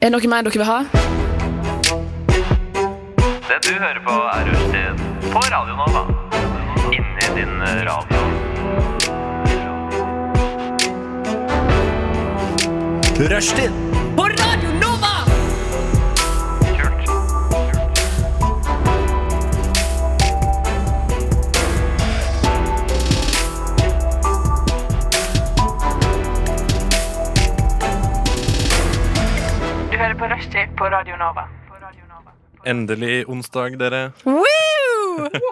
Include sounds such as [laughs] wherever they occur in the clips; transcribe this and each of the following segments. Er det noe mer dere vil ha? Det du hører på er Rushtid på Radio Nova. Inni din radio. Rushtid Kult. Du hører på Rushtid på Radio Nova. Endelig onsdag, dere. [laughs]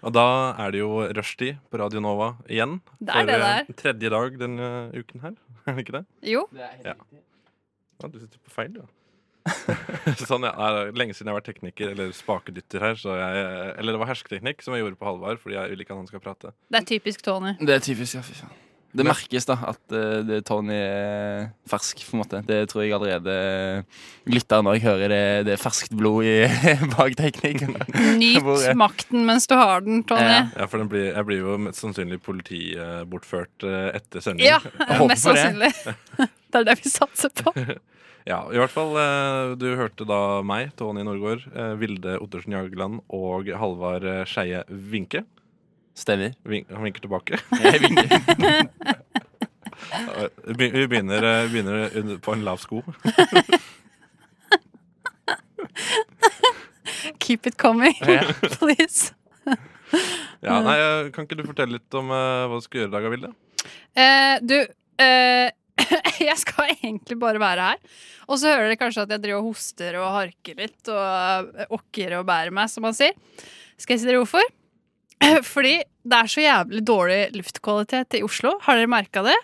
Og da er det jo rushtid på Radio Nova igjen. Det er For, det det eh, er. Tredje dag denne uken her. [laughs] Er det ikke det? Jo. Ja, du [laughs] sitter på feil, ja. sånn, ja. Nei, det er lenge siden jeg har vært tekniker eller spakedytter her. Så jeg, eller det var hersketeknikk som jeg gjorde på Halvard, fordi jeg vil ikke at han skal prate. Det er typisk [laughs] Tony. Det er typisk, ja, fy faen. Det merkes da at eh, det, Tony er fersk, på en måte. Det tror jeg allerede lytter når jeg hører det, det er ferskt blod i [laughs] bak teknikken. Hvor Nyt er- makten mens du har den, Tony. Ja. Ja, for den blir, jeg blir jo mest sannsynlig politibortført etter sending. Ja, håper mest på det. sannsynlig. [laughs] Det er det vi satser på. Ja, i hvert fall eh, Du hørte da meg, Tony Norgård, eh, Vilde Ottersen Jageland og Halvard eh, Skeie Vinke. Stemmer. Vin han vinker tilbake. [laughs] Jeg vinker. Eh, Vi be- vi begynner, eh, vi begynner under- på en lav sko. Keep it coming, Ja. [laughs] please. Ja, nei, eh, kan ikke du fortelle litt om eh, hva du skal gjøre i dag, Vilde? Eh, du, eh, [laughs] jeg skal egentlig bare være her. Og så hører dere kanskje at jeg driver og hoster og harker litt og eh, okker og bærer meg, som man sier. Skal jeg si dere hvorfor? [clears throat] Fordi det er så jævlig dårlig luftkvalitet i Oslo. Har dere merka det?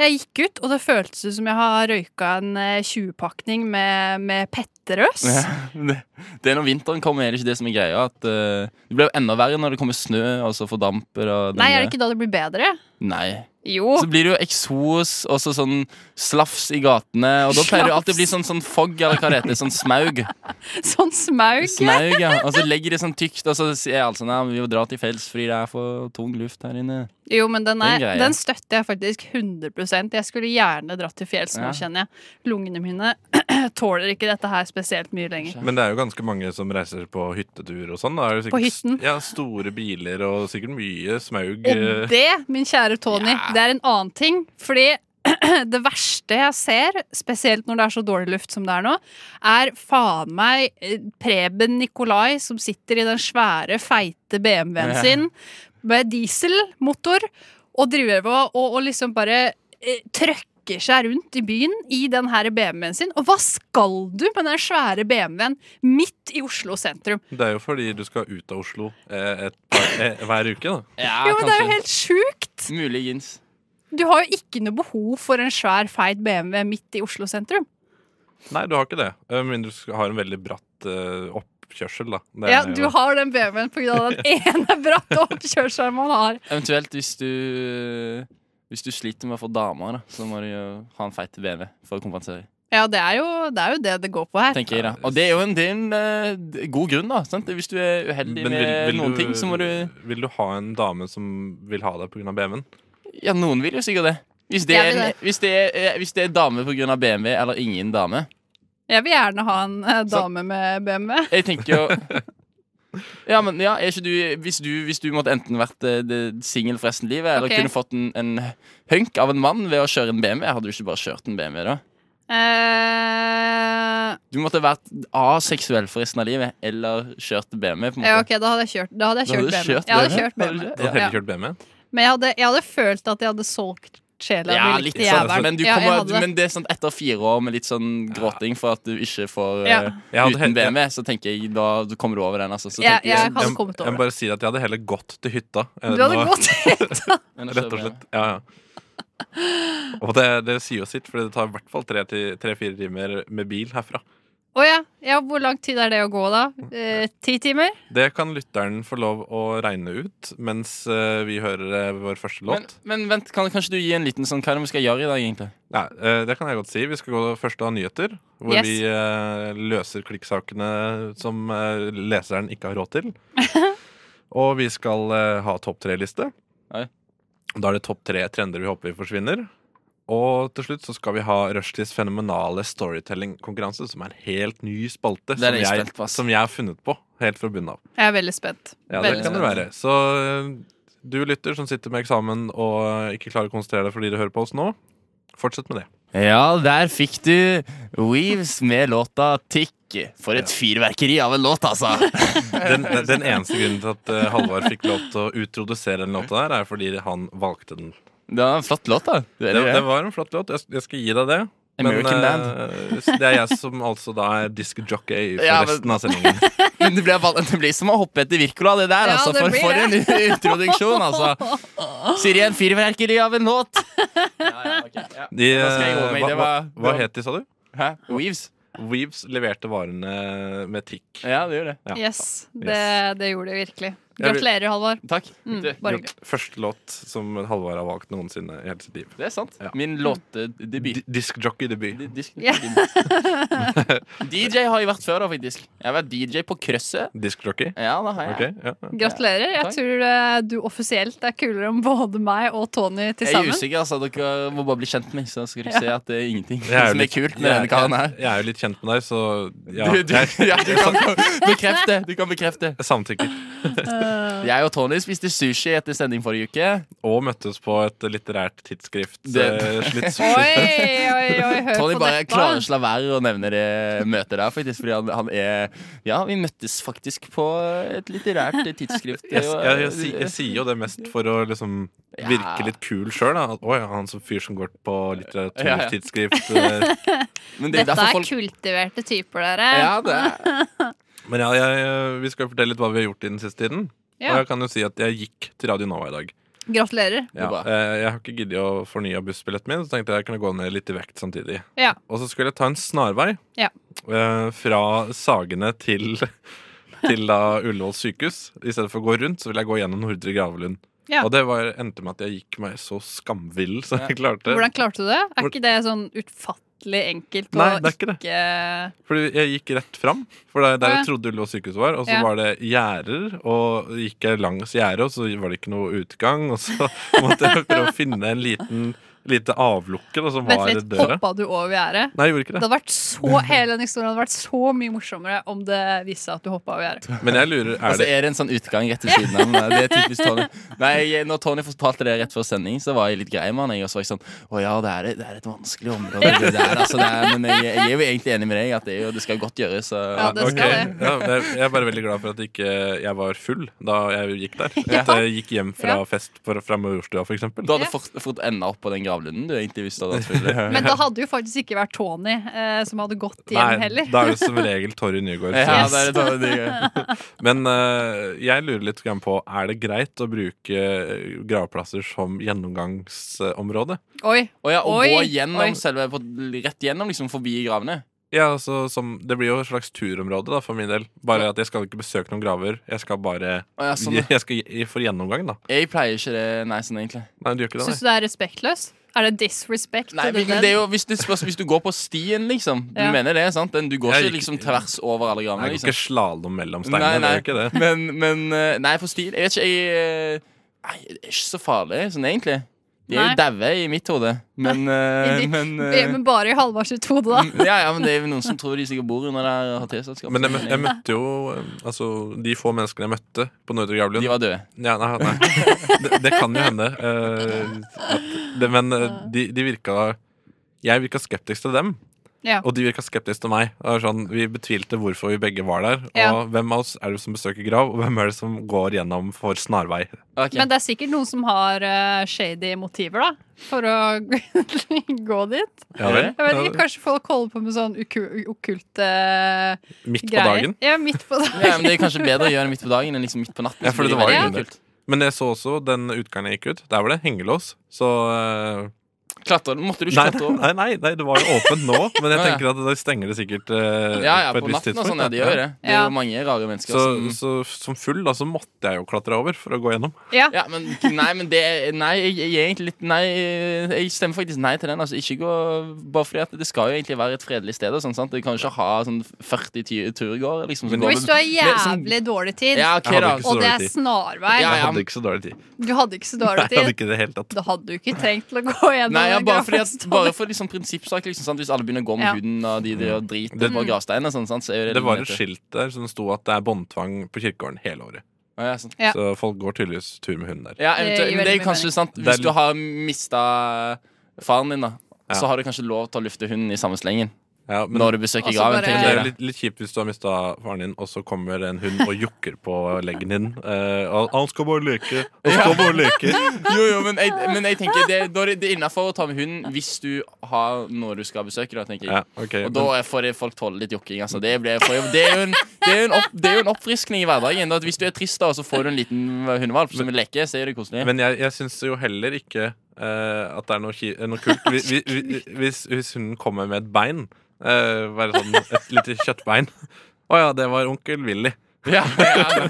Jeg gikk ut, og det føltes ut som jeg har røyka en eh, 20-pakning med, med Petterøes. Ja, Det, det er når vinteren kommer, er det ikke det som er greia? At, eh, det blir jo enda verre når det kommer snø, og så fordamper og Nei, er det ikke da det blir bedre? Nei. Jo. Så blir det jo eksos og så sånn slafs i gatene. Og da pleier det jo alltid å bli sånn, sånn fogg, eller hva det heter. Sånn smaug. [laughs] Sånn smaug. Smaug, ja. Og så legger de sånn tykt, og så sier jeg altså nei, vi må dra til fjells fordi det er for tung luft her inne. Jo, men den, er, Den greia. den støtter jeg faktisk 100 Jeg skulle gjerne dratt til fjells nå, Ja. kjenner jeg. Lungene mine [clears throat] tåler ikke dette her spesielt mye lenger. Men det er jo ganske mange som reiser på hyttetur og sånn. da er det På sikkert s- hytten? Ja, Store biler og sikkert mye smaug. Og eh, det, min kjære Tony, Ja. det er en annen ting. Fordi [clears throat] det verste jeg ser, spesielt når det er så dårlig luft som det er nå, er faen meg eh, Preben Nikolai som sitter i den svære, feite BMW-en Ja. sin med dieselmotor og driver og, og, og liksom bare eh, trøkker seg rundt i byen i den her BMW-en sin. Og hva skal du med den svære BMW-en midt i Oslo sentrum? Det er jo fordi du skal ut av Oslo eh, et par, eh, hver uke, da. Ja, Jo, men det er jo helt sjukt! Muligens. Du har jo ikke noe behov for en svær, feit BMW midt i Oslo sentrum. Nei, du har ikke det. Eh, Men du skal- har en veldig bratt eh, oppkjørsel, da. Det er Ja, jo- Du har den BMW-en pga. den [laughs] ene bratte oppkjørselen man har. Eventuelt hvis du Hvis du sliter med å få damer, da, så må du jo ha en feit BV for å kompensere. Ja, det er jo det er jo det, det går på her. Tenker jeg da Og det er jo en, det er en eh, d- god grunn, da. Sant? Hvis du er uheldig Men med vil, vil, noen du, ting, så må du vil du ha en dame som vil ha deg pga. BMW-en? Ja, noen vil jo sikkert det. Hvis det, Jeg er, vil en- hvis det, er, eh, hvis det er dame pga. BMW eller ingen dame Jeg vil gjerne ha en eh, dame med BMW. Jeg tenker jo Ja, men ja, er ikke du Hvis du, hvis du måtte enten vært eh, singel for resten av livet, eller Ok. kunne fått en, en hunk av en mann ved å kjøre en BMW, hadde du ikke bare kjørt en BMW da? Eh, Du måtte vært aseksuell for resten av livet, eller kjørt BMW, på en måte. ja, ok, da hadde jeg kjørt, da hadde jeg Da kjørt hadde du BMW. kjørt BMW? Du Jeg hadde kjørt BMW. hadde Ja. heller kjørt BMW? Men jeg hadde, jeg hadde følt at jeg hadde solgt sjela Ja, mi litt litt til sånn, jævelen. men, du Ja, jeg kommer, hadde det. men det er sånn etter fire år med litt sånn gråting for at du ikke får Ja. eh, Jeg hadde uten helt- BMW, så tenker jeg da du kommer du over den. Altså, så Ja, tenker jeg, jeg hadde må- kommet over jeg må bare si at jeg hadde heller gått til hytta. enn Du hadde å- [laughs] gått [laughs] hit. men å Rett og kjøre slett. Ja, ja. Og det, det sier jo sitt, for det tar i hvert fall tre-fire timer med bil herfra. Å ja. ja. Hvor lang tid er det å gå, da? Eh, ti timer? Det kan lytteren få lov å regne ut mens eh, vi hører eh, vår første Men, låt. men vent, kan, kanskje du gi en liten sånn Hva er det vi skal gjøre i dag, egentlig? Nei, eh, det kan jeg godt si. Vi skal gå først av nyheter, hvor Yes. vi eh, løser klikksakene som eh, leseren ikke har råd [laughs] til. Og vi skal eh, ha topp tre-liste. Oi. Da er det topp tre trender vi håper vi forsvinner. og til slutt så skal vi ha Rushtids fenomenale storytelling-konkurranse, som er en helt ny spalte Det er som det jeg er jeg, spent på, ass. som jeg har funnet på helt fra bunnen av. Jeg er veldig spent. Ja, det veldig kan det være. Så eh, du lytter som sitter med eksamen og eh, ikke klarer å konsentrere deg fordi du hører på oss nå, fortsett med det. Ja, der fikk du Weaves med låta Tick. For et fyrverkeri av en låt, altså! Den, den, den eneste grunnen til at eh, Halvard fikk lov til å utrodusere den låta der, er fordi han valgte den. Det var en flott låt, da. Det Det, er det. det var en flott låt. Jeg, jeg skal gi deg det. American eh, det er jeg som altså da er diskjockey for Ja, men- resten av sendingen. [laughs] Men det blir, val- det blir som å hoppe etter Wirkola, det der. Ja, altså, det for, blir for en det. introduksjon, altså. Sier igjen fyrverkeri av en [laughs] låt. De, eh, Da skal jeg gå med. hva, Det hva, var- det hva var- het de, sa du? Hæ? Weaves? Weaves leverte varene med trikk. Ja, det gjør det. Ja. Yes, det, det gjorde det virkelig. vil- Gratulerer, Halvor. Takk. Mm, Det, bare hyggelig. Gjort Første låt som Halvard har valgt noensinne i hele sitt liv. det er sant. Ja. Min låtedebut. Di- Diskjockey-debut. Di- Disk. [laughs] Ja. DJ har jeg vært før, da, faktisk. Jeg har vært DJ på Krøsset. Diskjockey? Ja, det har jeg. Ok, ja. ja. Gratulerer. Jeg Takk. tror eh, du offisielt er kulere enn både meg og Tony til Jeg er sammen. usikker, altså. Dere må bare bli kjent med meg, så skal dere se at det er ingenting Jeg jo som er litt- kult med jeg- denne karen her. Jeg, jeg er jo litt kjent med deg, så ja. Du, du, Jeg, [laughs] ja, du kan bekrefte. Du kan bekrefte. jeg samtykker. Jeg og Tony spiste sushi etter sending forrige uke. Og møttes på et litterært tidsskrift. Det- eh, slitt- [laughs] Oi, oi, oi, hør [laughs] Tony på bare dette. klarer ikke la være å nevne det møtet der, faktisk, fordi han, han er Ja, vi møttes faktisk på et litterært tidsskrift. Jeg, jeg, jeg, si- jeg sier jo det mest for å liksom virke Ja. litt kul sjøl. Å ja, han som fyr som går på Ja, ja. litteraturtidsskrift. eh, [laughs] Men det er Dette derfor er folk kultiverte typer, dere. ja, det er. Men ja, jeg, eh, vi skal jo fortelle litt hva vi har gjort i den siste tiden. Ja. Og jeg kan jo si at jeg gikk til Radio Nova i dag. Gratulerer. Ja. Jobba. eh, Jeg har ikke giddet å fornye bussbilletten min, så tenkte jeg jeg kunne gå ned litt i vekt samtidig. Ja. Og så skulle jeg ta en snarvei Ja. eh, fra Sagene til, [laughs] til da Ullevål sykehus. I stedet for å gå rundt, så ville jeg gå gjennom Nordre Gravelund. Ja. Og det var, endte med at jeg gikk meg så skamvill som jeg klarte. Hvordan klarte du det? Er Hvor- ikke det sånn utfattelig enkelt? Nei, og det er ikke det. ikke- Fordi jeg gikk rett fram, for det er der Å, ja. jeg trodde Ullevål sykehus var. Og så Ja. var det gjerder, og gikk jeg langs gjerdet, og så var det ikke noe utgang. Og så [laughs] måtte jeg prøve å finne en liten lite avlukke da, som Vent var litt, døra. hoppa du over gjerdet? Nei, jeg gjorde ikke Det det. hadde vært så, hele den historien hadde vært så mye morsommere om det viste seg at du hoppa over gjerdet. Men jeg lurer, Og er Altså, så det er det en sånn utgang rett ved siden av. den der. Det er typisk Tony. Nei, jeg- når Tony fortalte det rett før sending, så var jeg litt grei med han. jeg, Og så var jeg sånn Å ja, det er, et- det er et vanskelig område, det der. Altså, det er, men jeg, jeg er jo egentlig enig med deg at det, er jo, det skal godt gjøres. så- Ja, det Ok, skal det. ja, men jeg jeg er bare veldig glad for at ikke jeg var full da jeg gikk der. [laughs] Ja. At jeg gikk hjem fra Ja. fest på- fra Majorstua, for eksempel. Du hadde Ja. fort, fort enda opp på den gravlunden du egentlig visste hadde vært [laughs] full. Men det hadde jo faktisk ikke vært Tony eh, som hadde gått hjem Nei, heller. da er det som regel Torry Nygaard. som- [laughs] Ja, det er et annet ting. Men eh, jeg lurer litt grann på Er det greit å bruke eh, gravplasser som gjennomgangsområde? Oi, Å ja, og Oi, gå gjennom oi. selve på, Rett gjennom, liksom forbi gravene. Ja, altså som, Det blir jo et slags turområde da, for min del. Bare at jeg skal ikke besøke noen graver. Jeg skal bare Å ja, sånn. Jeg skal gi- for gjennomgang, da. Jeg pleier ikke det, nei, sånn egentlig. Nei, du gjør ikke det? syns du det er respektløst? Er det disrespect? Nei, og men det er jo, hvis, du, spørs, hvis du går på stien, liksom. Du Ja. mener det, sant? Den, du går Jeg ikke gikk- liksom tvers over alle Nei, gravene. jeg går Liksom. ikke slalåm mellom Nei, steinene. nei. Jeg gjør ikke det. Men, men eh, Nei, på stien Jeg vet ikke, jeg eh, Nei, det er ikke så farlig, sånn egentlig. De er Nei. jo daue i mitt hode, men, eh, [laughs] I ditt- men, eh, Mm, Ja, Men bare i Halvard sitt hode, da. ja, ja, men det er jo noen som tror de sikkert bor under der og har teselskap. Men jeg, mø- jeg møtte jo eh, Altså, de få menneskene jeg møtte på Nordre Gravlund De var døde. Ja, nei, nei. Det, det kan jo hende. eh, at det, men eh, de, de virka Jeg virka skeptisk til dem, Ja. og de virka skeptisk til meg. Det var sånn, vi betvilte hvorfor vi begge var der. Og Ja. hvem av oss er det som besøker grav, og hvem er det som går gjennom for snarvei? Ok. Men det er sikkert noen som har eh, shady motiver, da. For å [laughs] gå dit. Ja, vel? Jeg vet ikke, Ja, Kanskje folk holder på med sånn uku- okkulte eh, Midt på greier. dagen. Ja, midt på [laughs] Ja, men dagen. Det er kanskje bedre å gjøre det midt på dagen enn liksom midt på natten. Ja, så for blir det var jo veldig ingen kult. Men jeg så også den utgangen jeg gikk ut. Der var det hengelås. Så eh, Klatre, Måtte du ikke nei, klatre over? nei, nei, nei, det var jo åpent nå, men jeg Ja, ja. tenker at de stenger det sikkert eh, Ja, ja, på på et natten visst og tidspunkt. sånn. Ja, de da. gjør jo det. Det er Ja. jo mange rare mennesker Så, som så som full da, så måtte jeg jo klatre over for å gå gjennom. Ja. ja, men nei, men det Nei, jeg, jeg er egentlig litt Nei, jeg stemmer faktisk nei til den. Altså, ikke gå Bare fordi at det skal jo egentlig være et fredelig sted og sånn, sant. Du kan jo ikke ha sånn 40 ty- turgåere, liksom. Som Men- Og går hvis du har Men som- jævlig dårlig tid, sånn- Ja, ok, Jeg da. hadde ikke og det dårlig er tid. snarvei Ja, Jeg ja. hadde ikke så dårlig tid. Du hadde ikke så Nei, [laughs] [laughs] dårlig jeg hadde tid. ikke det helt tatt. Da hadde du ikke trengt til å gå gjennom Nei, ja, den bare, fordi at, gravstenen. bare for liksom prinsippsak. Liksom, sant? Hvis alle begynner å gå med Ja. huden og de driver og driter Det- på gravsteinene, sånn, sant, så er jo det Det var et skilt der som sto at det er båndtvang på kirkegården hele året. Ja, ja, sant. Ja. Så folk går tydeligvis tur med hunden der. ja, eventuelt, Det gir men det er veldig jo mye kanskje sant Det er Hvis litt- du har mista faren din, da, Ja. så har du kanskje lov til å lufte hunden i samme slengen Ja, men når du besøker Også graven. bare- det tenker er jo jeg, da. litt, litt kjipt hvis du har mista faren din, og så kommer en hund og jokker på leggen din. Eh, og 'Han skal bare leke! Han skal bare leke!' Jo, jo, men jeg, men jeg tenker det, da er det- det er innafor å ta med hunden hvis du har noe du skal besøke. Da, tenker jeg. Ja, ok, Og men- da får det- folk tåle litt jokking. Altså. Det, blir- for, det, er jo en, det, er jo en opp, det er jo en oppfriskning i hverdagen. da, At hvis du er trist, da, og så får du en liten hundevalp som vil leke, så er det koselig. Men jeg, jeg syns jo heller ikke eh, at det er noe, ki- noe kult Hvis- hvis- hvis, hvis hunden kommer med et bein, eh, bare sånn et lite kjøttbein Å ja, det var onkel Willy. Ja, ja,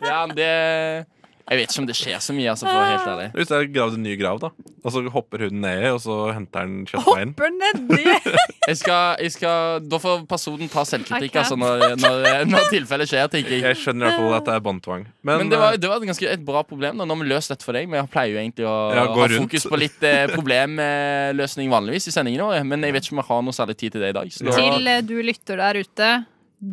ja, det Jeg vet ikke om det skjer så mye, altså, for å være helt ærlig. Hvis jeg gravde en ny grav, da, og så hopper hunden ned, og så henter han kjøttbein. Hopper nedi! [laughs] Jeg skal, jeg skal, da får personen ta I selvkritikk can't. altså, når, når, når tilfellet skjer, tenker jeg. Jeg skjønner i hvert fall at det er båndtvang. Men, Men det var, eh, det var et ganske et bra problem. da Nå har vi løst dette for deg. Men jeg pleier jo egentlig å Ja, gå ha rundt. fokus på litt eh, problemløsning vanligvis i sendingene våre. Men jeg vet ikke om jeg har noe særlig tid til det i dag. Så da, Til eh, du lytter der ute,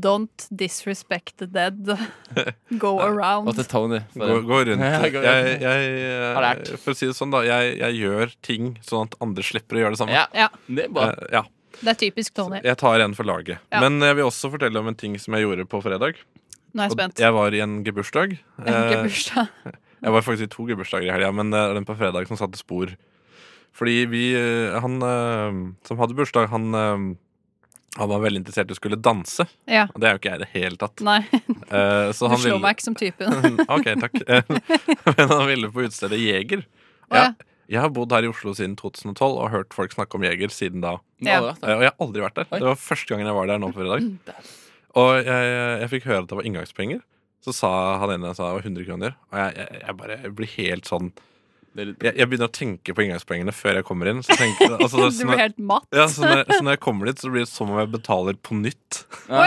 don't disrespect the dead. [laughs] Go around. og til Tony. For Gå, det. gå rundt. Ja, Jeg, gå rundt. jeg, Har lært. eh, for å si det sånn, da. Jeg, jeg gjør ting sånn at andre slipper å gjøre det samme. Ja, Ja, det er bra. Eh, ja. det er typisk Tony. Jeg tar en for laget. Ja. Men jeg vil også fortelle om en ting som jeg gjorde på fredag. Nå er jeg Og spent. Jeg var i en [laughs] gebursdag. Eh, Ikke bursdag. Jeg var faktisk i to gebursdager i helga, men det er den på fredag som satte spor. Fordi vi eh, Han eh, som hadde bursdag, han, eh, han var veldig interessert i å skulle danse. Ja. Og det er jo ikke jeg i det hele tatt. Nei, [laughs] Eh, Så han Altså, du slår ville meg ikke som typen. [laughs] Ok, [laughs] takk. Eh, Men han ville på utestedet Jeger. Å, ja. Jeg har bodd her i Oslo siden 2012 og hørt folk snakke om Jeger siden da. Nå har det vært Eh, Og jeg har aldri vært der. Oi. Det var første gangen jeg var der nå på fredag. Mm, Og jeg, jeg fikk høre at det var inngangspenger. Så sa han ene sa det var 100 kroner. Og jeg, jeg, jeg bare jeg blir helt sånn det. Det er- jeg, jeg begynner å tenke på inngangspengene før jeg kommer inn. Så, tenker, altså, [laughs] Du det- så, blir når, helt matt. ja, sånn- så, [laughs] når, så når jeg kommer dit, så blir det som om jeg betaler på nytt. [laughs]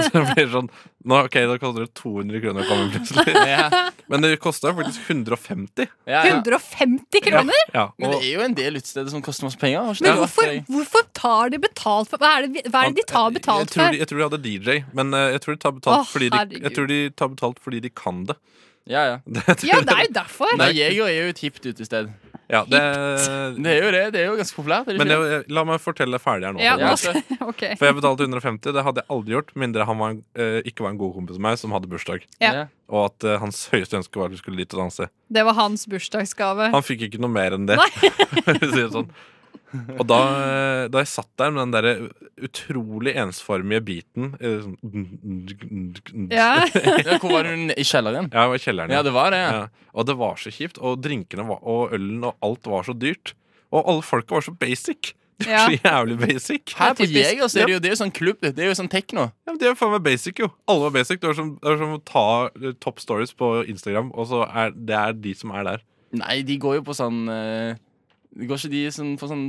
Ah, Så det blir sånn nå, Ok, da koster det 200 kroner å komme [laughs] plutselig. ja, Men det kosta faktisk 150. ja, ja. 150 kroner?! Ja, Men det og, er jo en del utesteder som koster masse penger. Har ikke Men det vært for hvorfor, deg? hvorfor tar de betalt for Hva er det, hva er det de tar jeg betalt tror, for? de, jeg tror de hadde DJ, men eh, jeg tror de tar betalt, Å, fordi, de, herregud. jeg tror de tar betalt fordi de kan det. Ja, ja. Ja, det er jo derfor. Nei, Jeger er jo et hipt utested. Ja, det, Det er jo det. Det er jo ganske populært. Er det men ikke? jeg, jeg, la meg fortelle det ferdig her nå. Ja, Ja, nå så- [laughs] Ok. For jeg betalte 150. Det hadde jeg aldri gjort, med mindre han var, en- eh, ikke var en god kompis av meg som hadde bursdag. Ja. Ja. Og at eh, hans høyeste ønske var at vi skulle dit og danse. Det var hans bursdagsgave. Han fikk ikke noe mer enn det. [laughs] for å si det sånn. Og da, eh, da jeg satt der med den derre utrolig ensformige beaten eh, sånn, [laughs] Ja. Ja, hvor var hun i kjelleren? Ja, det var i kjelleren. Ja, det var det. Ja. Ja. Og det var så kjipt. Og drinkene var, og ølen og alt var så dyrt. Og alle folka var så basic. De var Ja. Så jævlig basic. Her på Det er typisk. Jeger så er det jo, det er jo sånn klubb. Det er jo sånn tekno. Ja, men de er faen meg basic, jo. Alle var basic. Det var som, det var som å ta eh, top stories på Instagram, og så er det er de som er der. Nei, de går jo på sånn eh, de Går ikke de sånn, på sånn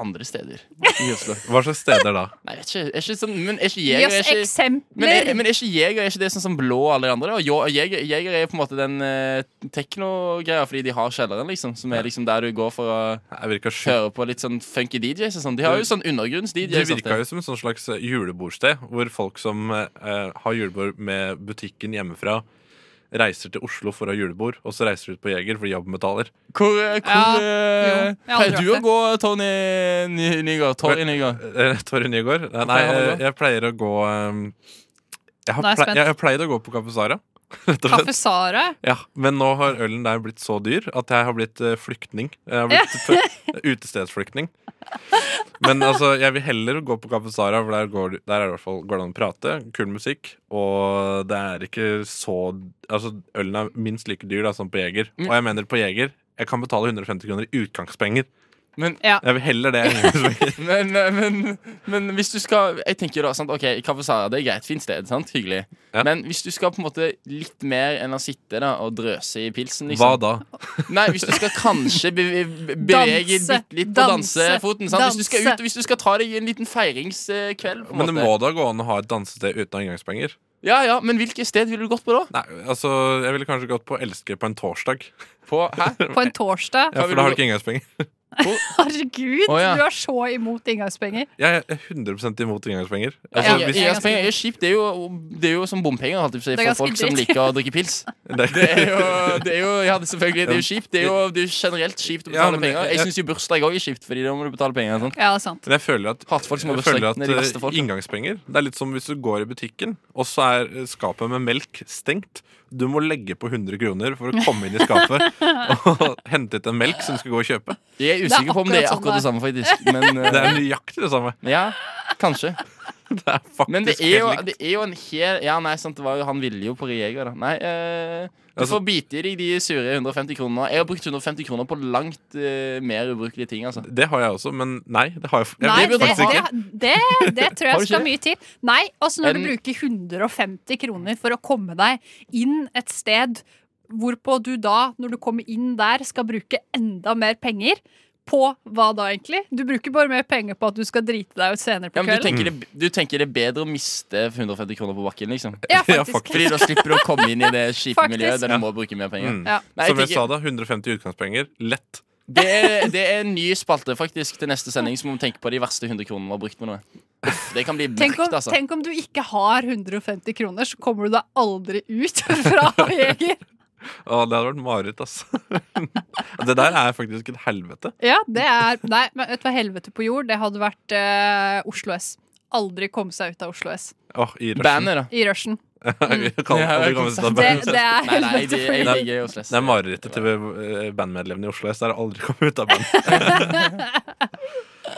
andre steder i Oslo? Hva slags steder da? [laughs] Nei, jeg vet ikke. Er ikke sånn, men er ikke Gi Jeger oss er ikke, men, er, eksempler! men er ikke Jeger er ikke det sånn som blå og alle de andre? Og jo- og Jeger, Jeger er på en måte den eh, tekno-greia fordi de har kjelleren, liksom. Som er liksom der du går for å Jeg virka sjukt. høre på litt sånn funky DJs og sånn. De har jo sånn Det undergrunns-DJs. virka jo som et sånn slags eh, julebordsted, hvor folk som eh, eh, har julebord med butikken hjemmefra, reiser til Oslo for å ha julebord, og så reiser de ut på Jeger fordi jobben betaler. Hvor, eh, Ja, hvor eh, jo, jeg har aldri pleier du hørt å gå, Tony Ny- Nygaard? Torry Nygaard? Eh, Torre Nygaard? Nei, pleier han å eh, gå? jeg pleier å gå eh, jeg, har Nå er jeg plei- spent. jeg, jeg pleide å gå på Kaffe Sara. Rett og slett. Kaffe Sara. Ja, Men nå har ølen der blitt så dyr at jeg har blitt eh, flyktning. Jeg har [laughs] blitt fø- utestedsflyktning. Men altså, jeg vil heller gå på Kaffe Sara, for der går, du- der er det i hvert fall, går det an å prate. Kul musikk. Og det er ikke så Altså, ølen er minst like dyr da, som på Jeger. Mm. Og jeg mener på Jeger jeg kan betale 150 kroner i utgangspenger. Men Ja. Jeg vil [laughs] heller det enn utgangspenger. Men, men, men hvis du skal Jeg tenker jo da, sant, ok, Kaffe Sara det er greit, fint sted, sant, hyggelig Ja. Men hvis du skal på en måte litt mer enn å sitte da og drøse i pilsen Hva liksom. da? Nei, hvis du skal kanskje be be- bevege Danse, bitte litt på danse, dansefoten sant? Hvis, du skal danse. ut, hvis du skal ta deg en liten feiringskveld på en Men det måte må da gå an å ha et dansested uten inngangspenger? Ja, ja, men hvilket sted ville du gått på da? Nei, altså, jeg ville kanskje gått på Elsker på en torsdag. På, hæ? På en torsdag. Ja, vil For da du har gå- du ikke inngangspenger. Herregud, Å, ja. du er så imot inngangspenger. Jeg er 100 imot inngangspenger. Ja, Altså, ja, hvis, ja. Inngangspenger er kjipt. Det er jo, det er jo som bompenger holdt jeg på å si, Det er for ganske folk som dritt. liker å drikke pils. [laughs] det, Det er jo, det er jo ja, det er selvfølgelig, det er jo kjipt. Det er jo, det er jo generelt kjipt å Ja, betale men penger. Jeg jeg- syns jo bursdag òg er kjipt, Fordi da må du betale penger. og Sånn. Ja, det er sant. Men jeg føler at, Hater folk som har jeg føler bursdag. at Det er de verste eh, folk. inngangspenger Det er litt som hvis du går i butikken, og så er eh, skapet med melk stengt. Du må legge på 100 kroner for å komme inn i [laughs] skapet og hente ut en melk som du skal gå og kjøpe. Jeg er usikker på om det er akkurat akkurat det samme, faktisk. [laughs] Men eh, Det er nøyaktig det samme. ja, kanskje. Det er faktisk Men det er jo, helt likt. det er jo en hel Ja, nei, sant, det var jo, han ville jo på Riega, da. Nei, eh, du Altså- får bite i deg de sure 150 kronene. Jeg har brukt 150 kroner på langt eh, mer ubrukelige ting, altså. Det har jeg også, men nei. Det har jeg, jeg Nei, vet det, burde det, faktisk ikke. det, det tror Har du jeg ikke skal det? mye til. Nei, altså når En- du bruker 150 kroner for å komme deg inn et sted hvorpå du da, når du kommer inn der, skal bruke enda mer penger. På hva da, egentlig? Du bruker bare mer penger på at du skal drite deg ut senere på Ja, men du kvelden. tenker, det, du tenker det er bedre å miste 150 kroner på bakken, liksom? [laughs] Ja, Ja, faktisk. Fordi da slipper du å komme inn i det kjipe Faktisk. miljøet der du må bruke mer penger. Mm. Ja. Nei, jeg Som jeg tenker- sa da, 150 utgangspenger. Lett. Det er, det er en ny spalte faktisk til neste sending, så må vi tenke på de verste 100 kronene vi har brukt på noe. Uff, det kan bli Tenk om, mørkt, altså. tenk om du ikke har 150 kroner, så kommer du deg aldri ut [laughs] [laughs] fra Jeger. Å, det hadde vært mareritt, ass. [laughs] det der er faktisk et helvete. Ja, det er Nei, men vet du hva, helvete på jord, det hadde vært eh, Oslo S. Aldri komme seg ut av Oslo S. Åh, I [laughs] rushen. [laughs] Bandet, da. i rushen. Vi kan Ja, aldri jeg komme kan oss ut se av det. Det, bandet. det er Nei, nei, de, helvete jeg for jord. digger å slåss. Det er marerittet til eh, bandmedlemmene i Oslo S. Det er aldri kommet ut av [laughs] bandet.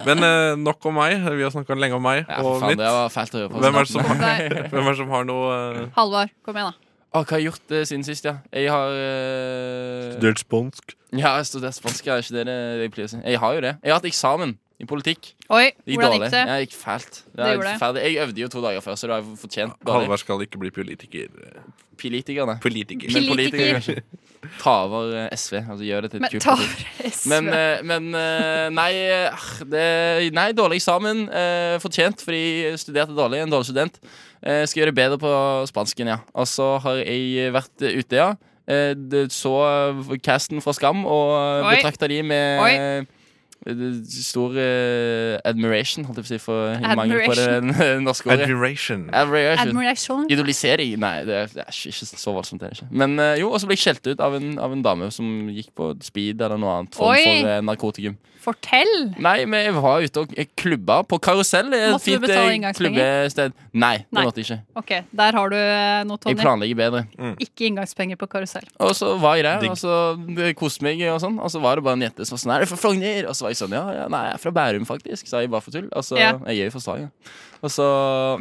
Men eh, nok om meg. Vi har snakka lenge om meg Ja, for og faen, mitt. det var fælt å høre på. altså. Hvem er det som har, Nei. hvem er det som har noe eh, Halvard, kom igjen, da. Å, hva har jeg gjort eh, siden sist, ja? Jeg har eh, Delt spansk. Ja, jeg har studert spansk, ja. Ikke det det jeg pleier å si. Jeg har jo det. Jeg har hatt eksamen i politikk. Oi, Det gikk hvordan dårlig. gikk det? Jeg gikk fælt. Det Det er gjorde det. forferdelig. Jeg øvde jo to dager før, så det har jeg fortjent. Bare Halvard skal ikke bli politiker. politikerne. Politiker. Pili- Politiker. kanskje. Ta over eh, SV. Altså gjør det til et Men, kult ta parti. over SV. Men, eh, men eh, nei, eh, det, nei, dårlig eksamen. eh, Fortjent, fordi jeg studerte dårlig. En dårlig student. Eh, Skal gjøre det bedre på spansken, ja. Og så har jeg vært eh, ute, ja. Eh, det- Så eh, casten fra Skam og Oi. betrakta de med eh, Stor eh, admiration, holdt jeg på å si, for mangel på det n- [laughs] norske ordet. Admiration. Admiration. Admiration. Idolisering? Nei, det er, det er ikke- ikke så voldsomt. Det er det ikke. Men eh, jo, og så ble jeg skjelt ut av en, av en dame som gikk på speed eller noe annet. Form Oi. for eh, narkotikum. Fortell! Nei, men jeg var ute og jeg klubba på karusell. er Et Måtte du fint betale eh, inngangspenger? klubbested. Nei, det Nei. måtte jeg ikke. Ok, der har du eh, noe, Jeg Tonje. planlegger bedre. Ikke inngangspenger på karusell. Og så var jeg der, Digg. og så det koste meg, og sånn. Og så var det bare en jente som var sånn Er du fra Frogner? Og så var jeg sånn Ja, ja nei, jeg er fra Bærum, faktisk. Sa jeg bare for tull. Og så Ja. Jeg er jo fra Stavanger. Og så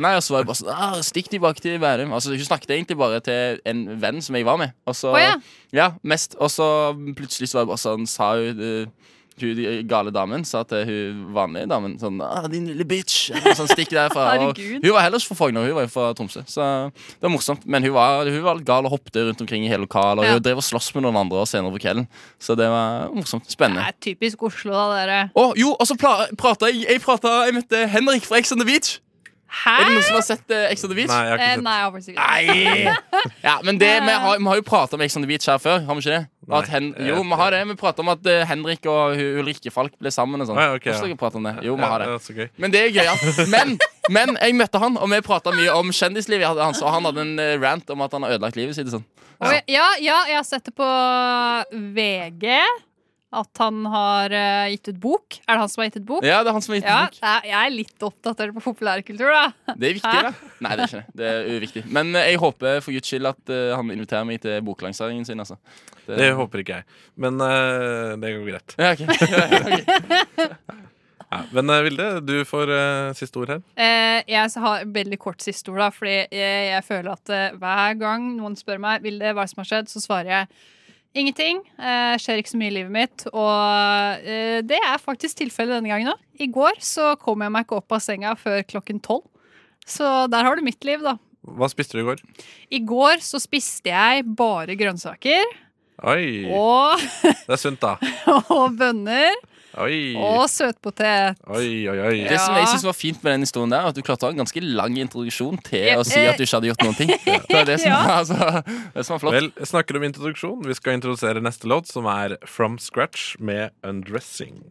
Nei, og så var jeg bare sånn ah, Stikk tilbake til Bærum. Altså, hun snakket egentlig bare til en venn som jeg var med. Og så Å ja. Ja, mest. Og så plutselig så var jeg bare sånn Sa hun eh, hun gale damen sa til hun vanlige damen sånn ah, 'Din lille bitch.' Eller noe sånt, stikk derfra. Og [laughs] Herregud. hun var heller ikke fra Frogner, hun var jo fra Tromsø. Så det var morsomt. Men hun var, hun var litt gal og hoppet rundt omkring i hele lokalet. Og Ja. hun drev og sloss med noen andre senere på kvelden. Så det var morsomt. Det Spennende. er typisk Oslo, da, dere. Å, jo, og så pla- prata jeg Jeg, pratet, jeg møtte Henrik fra Ex on the Beach. Hæ? Er det noen som har sett eh, Ex on the Beach? Nei, jeg har Eh, ikke sett nei, jeg har faktisk ikke Nei! Ja, men det, vi, har, vi har jo prata om Ex on the Beach her før. Har vi ikke det? Og At Nei, hen, jeg jo, vet vi har det. Vi prata om at eh, Henrik og Hu- Ulrikke Falk ble sammen. og sånn Ah, ja, ok, Husker ja. dere pratet om det? Jo, vi har det. Ja, så gøy. Men det er gøy, ja. Men, men jeg møtte han, og vi prata mye om kjendislivet hans. Og han hadde en eh, rant om at han har ødelagt livet sitt. og Sånn. Oi, ja, ja, jeg har sett det på VG. At han har eh, gitt ut bok. Er det han som har gitt ut bok? Ja, det er han som har gitt Ja, ut bok. jeg jeg er litt oppdatert på populærkultur, da. [laughs] Det er viktig, da. Nei, det er ikke det. Det er uviktig. Men eh, jeg håper for guds skyld at eh, han inviterer meg til boklanseringen sin, altså. Det- Det håper ikke jeg. Men eh, det går greit. ja, ok. Ok. Ja. Men eh, Vilde, du får eh, siste ord her. Eh, jeg har veldig kort siste ord, da, fordi jeg, jeg føler at eh, hver gang noen spør meg vil det, hva som har skjedd, så svarer jeg ingenting. Eh, skjer ikke så mye i livet mitt. Og eh, det er faktisk tilfellet denne gangen òg. I går så kom jeg meg ikke opp av senga før klokken tolv. Så der har du mitt liv, da. Hva spiste du i går? I går så spiste jeg bare grønnsaker Oi, og, [laughs] det er sunt, da. og bønner. Oi, Å, søtpotet. oi, oi. oi. Det som Ja. jeg synes var fint med den historien der, var at du klarte å ha en ganske lang introduksjon til Ja, å si at du ikke hadde gjort noen ting. Det var det som, Ja. altså, det som var flott. Vel, jeg snakker om introduksjon. Vi skal introdusere neste låt, som er From Scratch med Undressing.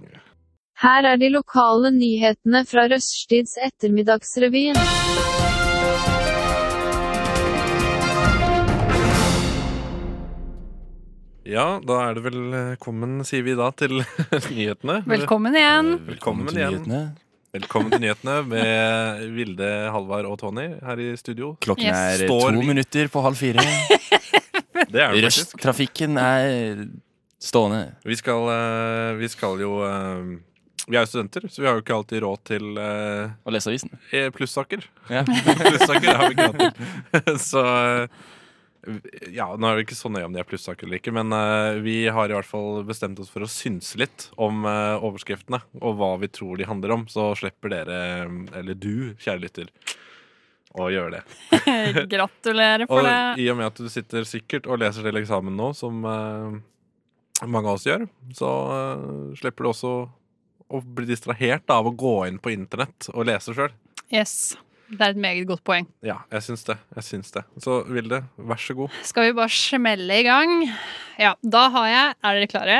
Her er de lokale nyhetene fra Røststids ettermiddagsrevyen. Ja, da er det velkommen, sier vi da, til [laughs] nyhetene. Velkommen igjen. [laughs] Velkommen til igjen. nyhetene. Velkommen til nyhetene med Vilde, Halvard og Tony her i studio. Klokken Yes. er Står to vi- minutter på halv fire. Det er det faktisk. Røsttrafikken er stående. Vi skal, eh, vi skal jo eh, Vi er jo studenter, så vi har jo ikke alltid råd til eh, Og lese avisen. eh, plussaker. [laughs] Ja. Plussaker har vi ikke råd til. [laughs] Så eh, ja, nå er vi ikke så nøye om de er plussaker eller ikke, men eh, vi har i hvert fall bestemt oss for å synse litt om eh, overskriftene og hva vi tror de handler om. Så slipper dere, eh, eller du, kjære lytter, å gjøre det. Gratulerer for Og det. i og med at du sitter sikkert og leser til eksamen nå, som eh, mange av oss gjør, så eh, slipper du også å bli distrahert av å gå inn på internett og lese sjøl. Yes. Det er et meget godt poeng. Ja, jeg syns det. jeg syns det Så Vilde, vær så god. Skal vi bare smelle i gang? Ja, da har jeg Er dere klare?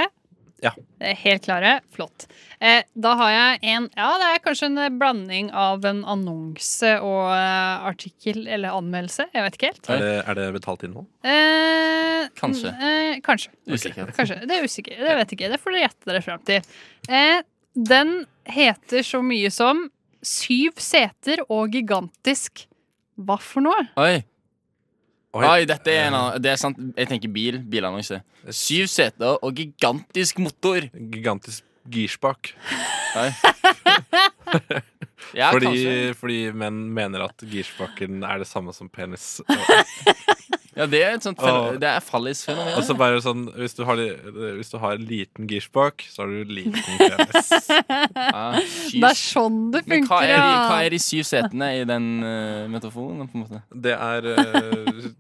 Ja. Eh, Helt klare? Flott. Eh, da har jeg en Ja, det er kanskje en eh, blanding av en annonse og eh, artikkel eller anmeldelse. Jeg vet ikke helt. Er det, er det betalt innhold? Eh, Kanskje. n- Eh, kanskje. Usikker. Kanskje. Det er usikker. Det vet jeg ikke. Det får dere gjette dere fram til. Eh, den heter så mye som Syv seter og gigantisk. Hva for noe? Oi. Oi. Oi, dette er en annen Det er sant. Jeg tenker bil. Bilannonse. Syv seter og gigantisk motor. Gigantisk girspak. Oi. Ja, kanskje. Fordi, fordi menn mener at girspaken er det samme som [laughs] penis. Ja, det er et sånt Åh. fenomen. Det er fallisfenomen. Og så bare sånn, hvis du har, hvis du har liten girspak, så har du liten penis. Ja, syv- Det er sånn det Men hva funker, er, de, ja. hva er de syv setene i den eh, metaforen, på en måte? Det er eh,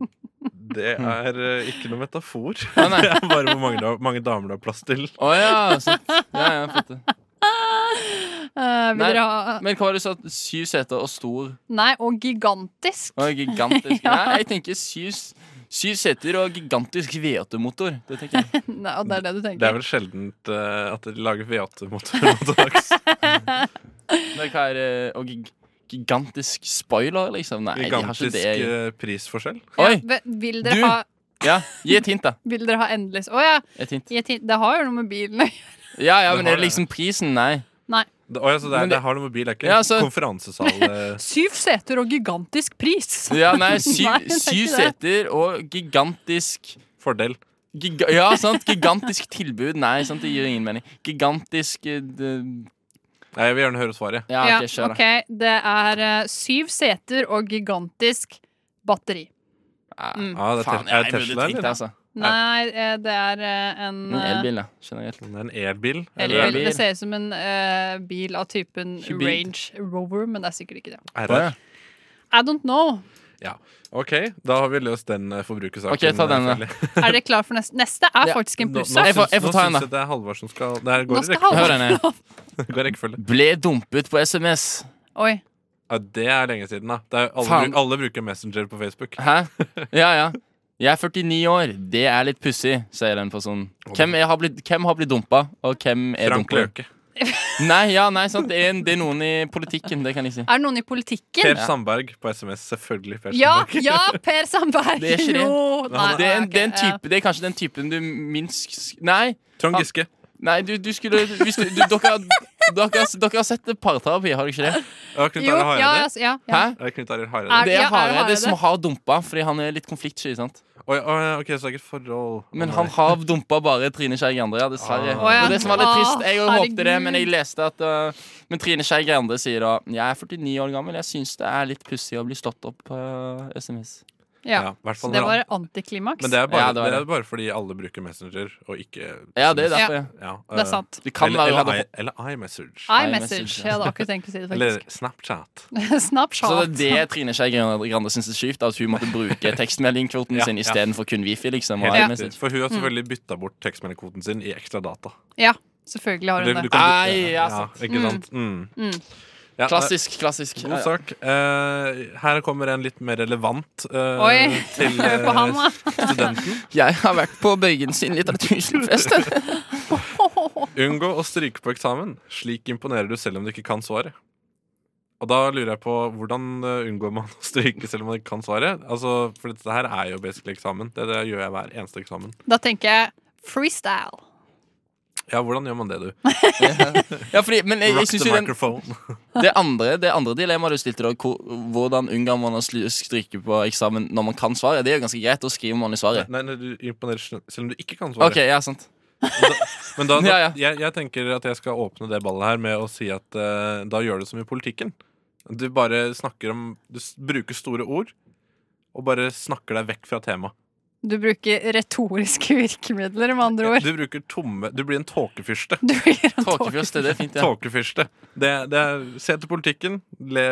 Det er eh, ikke noe metafor. Å, Mm. [laughs] nei. Det er bare hvor mange, da- mange damer du har plass til. Å ja, sant. [laughs] Ja, ja, fått det. Eh, vil Nei. dere ha Men hva var det du sa? Syv seter og stor Nei, og gigantisk. og gigantisk? Nei, jeg tenker syv, s- syv seter og gigantisk V8-motor. Det tenker jeg. Nei, og det er det du tenker. Det er vel sjeldent eh, at de lager [laughs] V8-motor nå til [laughs] dags. Men hva er eh, Og gig gigantisk spoiler, liksom? Nei, Gigantisk de har ikke det. eh, prisforskjell. Oi! Ve- Vil dere, Du- ha, Ja, gi et hint, da. vil dere ha endelig Å ja, Et hint. gi et hint. det har jo noe med bilen å gjøre. Ja, ja, Det men har er det det. liksom prisen? Nei. Det, å, ja, så det, Men er, det- det har noe med bil, det er ikke Ja, altså- konferansesal [laughs] eh, Syv seter og gigantisk pris! Ja, [laughs] nei, syv, Nei, det er syv ikke det. seter og gigantisk fordel. Giga ja, sant? Gigantisk tilbud. Nei, sant? det gir ingen mening. Gigantisk eh, det- Nei, jeg vil gjerne høre svaret. Ja, Ja, ok, kjør, da. ok, det er eh, syv seter og gigantisk batteri. Ja, Mm. Ja, det er, Ah, Faen, tes- jeg er det burde Tesla, tenkt det, eller? altså. Nei, eh, det er eh, en En eh, elbil, da. Generelt. Det er en elbil. elbil. Eller Elbil. Det ser ut som en eh, bil av typen Hybrid. Range Rover, men det er sikkert ikke det. er Å, ja. det? I don't know. OK, da har vi løst den eh, forbrukersaken. Ok, ta den, da. Nå, Er dere klare for neste? Neste er Ja. faktisk en nå, plussak. Jeg får- syns, jeg får nå ta en, syns da. jeg det er Halvard som skal Det her Nå går i skal rekke- Hør Halvor henne. går i rekkefølge. Ble dumpet på SMS. Oi. Ja, det er lenge siden, da. Det er, alle, Faen. bru- alle bruker Messenger på Facebook. Hæ? Ja, ja. Jeg er 49 år. Det er litt pussig, sier den personen. Hvem, er, har, blitt, hvem har blitt dumpa, og hvem er Frank dumper? Løke. Nei, ja, nei, sant. Det, er, en- det er noen i politikken, det kan jeg si. Er det noen i politikken? Per Sandberg på SMS. Selvfølgelig Per Ja, Sandberg. ja, Per Sandberg! Det er ikke det. Jo, nei, Det er, en, Ah, ok, det, er en ja. type, det er kanskje den typen du minst Nei, Trond Giske. nei du, du skulle hvis du, du, dere, har- dere, har- dere har sett parterapi, har dere ikke det? Ja, Knut Jo, Arild ja, Hareide. altså, ja, ja. Hæ? Er det Knut Arild Er- Hareide? Det ja, er Hareide Hareide. som har dumpa, fordi han er litt konfliktsky. sant? Oi, oi, ok, så det er ikke et forhold. Men Å, han nei. har dumpa bare Trine Skei Grande, ja, dessverre. Ah. Å, ja. Og det som var litt trist, jeg Å, håpte det, herregud. men jeg leste at uh, Men Trine Skei Grande sier da Jeg er 49 år gammel, jeg syns det er litt pussig å bli slått opp på eh, SMS. ja. Ja, i hvert Så fall det når var han- antiklimaks. Men det er, bare, Ja, det var det er det. bare fordi alle bruker Messenger, og ikke Ja, det er Ja. derfor. ja, Det eh, er sant. Det kan eller, være eller, hun hadde i- eller iMessage. iMessage. Jeg hadde akkurat tenkt å si det, Eller faktisk. Snapchat. Så det Snapchat. er det Trine Skei Grande Grande syns er sjukt, at hun måtte bruke tekstmeldingkvoten Ja, sin ja. istedenfor kun Wifi. liksom og Helt riktig. Mm. iMessage. For hun har selvfølgelig bytta bort tekstmeldingkvoten sin i ekstra data. Ja, Selvfølgelig har Du, hun du det. kan, Nei, ja, ja, sant. ikke sant. Mm. Mm. Ja, Klassisk, klassisk. God sak. Eh, her kommer en litt mer relevant eh, Oi! til [laughs] Hør på han, [laughs] da. eh, studenten. Jeg har vært på Bøygen sin litteraturfest. [laughs] Unngå å stryke på eksamen. Slik imponerer du selv om du ikke kan svaret. Og da lurer jeg på hvordan eh, unngår man å stryke selv om man ikke kan svaret? Altså, For dette her er jo basically eksamen. Det, det gjør jeg hver eneste eksamen. Da tenker jeg freestyle. Ja, hvordan gjør man det, du? Ja, fordi, men jeg, jeg Rock synes the jo den, microphone. det, andre, det andre dilemmaet du stilte, da, hvor, hvordan unngår man å sly- stryke på eksamen når man kan svaret, det er jo ganske greit. Da skriver man i svaret. Nei, nei, du imponerer selv selv om du ikke kan Ok, svaret. ja, [laughs] sant Men da, da, [laughs] Ja, ja. Jeg, jeg tenker at jeg skal åpne det ballet her med å si at eh, da gjør du som i politikken. Du bare snakker om Du s bruker store ord og bare snakker deg vekk fra temaet. Du bruker retoriske [laughs] virkemidler, med andre ord. Du bruker tomme Du blir en tåkefyrste. Du blir en tåke. Tåkefjøs, det er fint. Ja. Tåkefyrste. Det, det er, se til politikken. Le,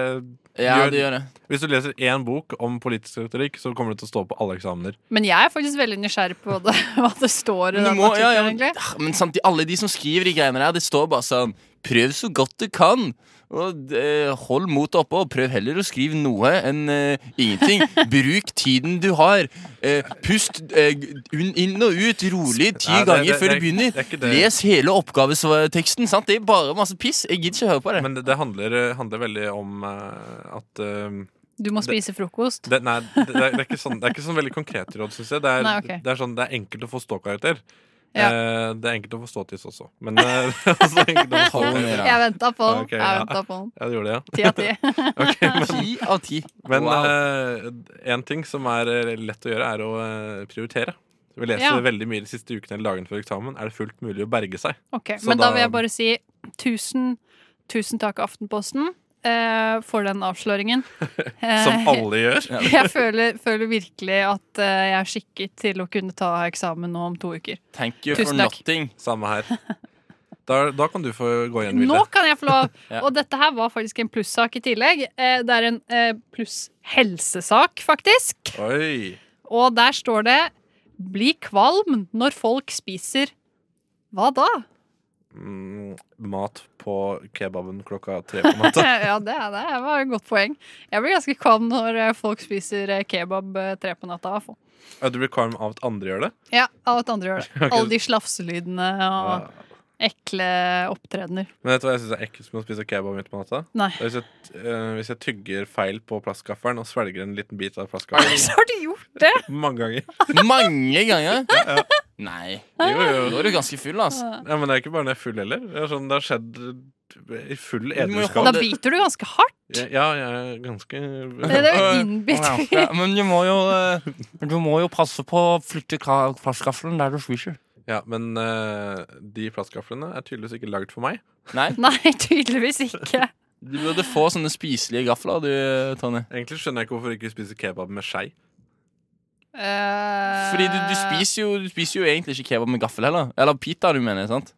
ja, det gjør det. hvis du leser én bok om politisk retorikk, så kommer det til å stå på alle eksamener. Men jeg er faktisk veldig nysgjerrig på det, [laughs] hva det står i Men, du den må, ja, ja, men, artikkelen. egentlig. ah, men sant, de- alle de som skriver de greiene der, det står bare sånn Prøv så godt du kan. Og eh, Hold motet oppe, og prøv heller å skrive noe enn eh, [laughs] ingenting. Bruk tiden du har. Eh, pust eh, un, inn og ut rolig ti Nei, det- ganger det- før du det- begynner. det er ikke det. Les hele oppgaveteksten. Sant? Det er bare masse piss. Jeg gidder ikke høre på det. Men det, det handler, handler veldig om eh, at eh, Du må spise frokost. Det, nei, det, det, er ikke sånn, det er ikke sånn veldig konkrete råd, syns jeg. Det er, Nei, ok. det er sånn, det er enkelt å få ståkarakter. Ja. Eh, det er enkelt å få ståtiss også, men eh, [laughs] det er også enkelt å få Hold ståkarakter. ned, Jeg venta på den. Ok, Jeg ja. ventet på den. Ja, det gjorde det, Ti av ti. ja. Ok, da. men Ti av ti. men Wow. eh, en ting som er eh, lett å gjøre, er å eh, prioritere. Vi leser Ja. veldig mye de siste ukene eller dagene før eksamen. Er det fullt mulig å berge seg? Ok, Så men da, da- vil jeg bare si tusen, tusen takk Aftenposten eh, for den avsløringen. Som Eh, alle gjør. [laughs] jeg føler, føler virkelig at eh, jeg er skikket til å kunne ta eksamen nå om to uker. Thank you for Tusen takk. nothing. Samme her. Da, da kan du få gå igjen, Nå Vilde. kan jeg få [laughs] lov! Ja. Og dette her var faktisk en plussak i tillegg. Eh, det er en eh, pluss helsesak, faktisk. Oi. Og der står det 'bli kvalm når folk spiser'. Hva [laughs] da? Mm, mat på kebaben klokka tre på natta. ja, det, er- det var et godt poeng. Jeg blir ganske kvalm når eh, folk spiser eh, kebab eh, tre på natta. i hvert fall. Ja, Du blir kvalm av at andre gjør det? Ja, av at andre [laughs] gjør det. Alle de slafselydene og ekle opptredener. Men vet du hva jeg syns er ekkelt med å spise kebab midt på natta? Nei. Det er Hvis jeg, eh, hvis jeg tygger feil på plastgaffelen og svelger en liten bit av plastgaffelen [laughs] Så har du gjort det! mange ganger. Mange ganger. Nei. Jo, jo. Nå er du ganske full, altså. Ja, men det er ikke bare når jeg er full heller. Det, er sånn, det har skjedd i full må jo edruskap. Da biter du ganske hardt. Ja, ja, jeg er ganske Det er jo Eh, innbitt. Ja, men du må jo, eh, du må jo passe på å flytte ka- plastgaffelen der du spiser. Ja, men eh, de plastgaflene er tydeligvis ikke lagd for meg. Nei, [laughs] Nei, tydeligvis ikke. du burde få sånne spiselige gafler, du, Tonje. Egentlig skjønner jeg ikke hvorfor jeg ikke spiser kebab med skei. Eh, Fordi du, du, spiser jo, du spiser jo egentlig ikke kebab med gaffel heller. Eller pita, du mener. sant?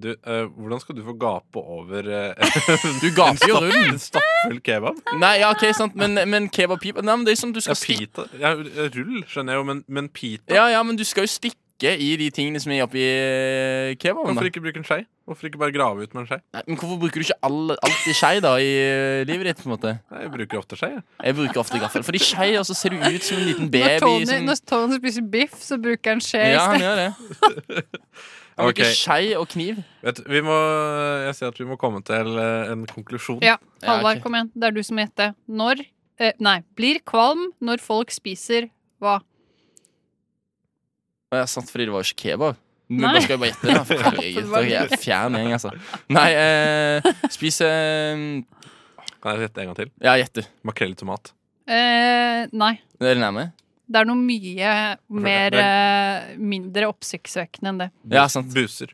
Du, eh, hvordan skal du få gape over eh, [laughs] Du gaper jo en rundt. stappfull kebab? Nei, ja, ok, sant, men, men kebabpipa Nei, men det er som du Ja, skal stikke pita. Ja, rull skjønner jeg jo, men, men pita Ja, ja, men du skal jo stikke i de tingene som er oppi eh, kebaben. da. Hvorfor ikke bruke en skei? Hvorfor ikke bare grave ut med en skei? Nei, men hvorfor bruker du ikke all, alltid skei da i eh, livet ditt? på en måte? Nei, Jeg bruker ofte skei. jeg. Jeg bruker ofte gaffel. Fordi skei altså, ser du ut som en liten baby. Når Tony, som- når Tony spiser biff, så bruker han skje. sånn- Ja, i han stedet. gjør det. Han bruker Ok. skei og kniv. Vet, du, vi må, jeg ser at vi må komme til eh, en konklusjon. Ja, Ja, ok. Halvard, kom igjen. Det er du som må gjette. Når eh, Nei, blir kvalm når folk spiser hva? Og jeg satt fordi det var jo ikke kebab. Men Nei. da skal jeg bare [laughs] gjette. da. For Herregud, dere er fjern gjeng, altså. Nei, eh, spis eh, Kan jeg gjette en gang til? Ja, gjett du. Makrell i tomat. Eh, nei. Er det nærme? Det er noe mye mer Det eh, mindre oppsiktsvekkende enn det. Ja, sant. Buser.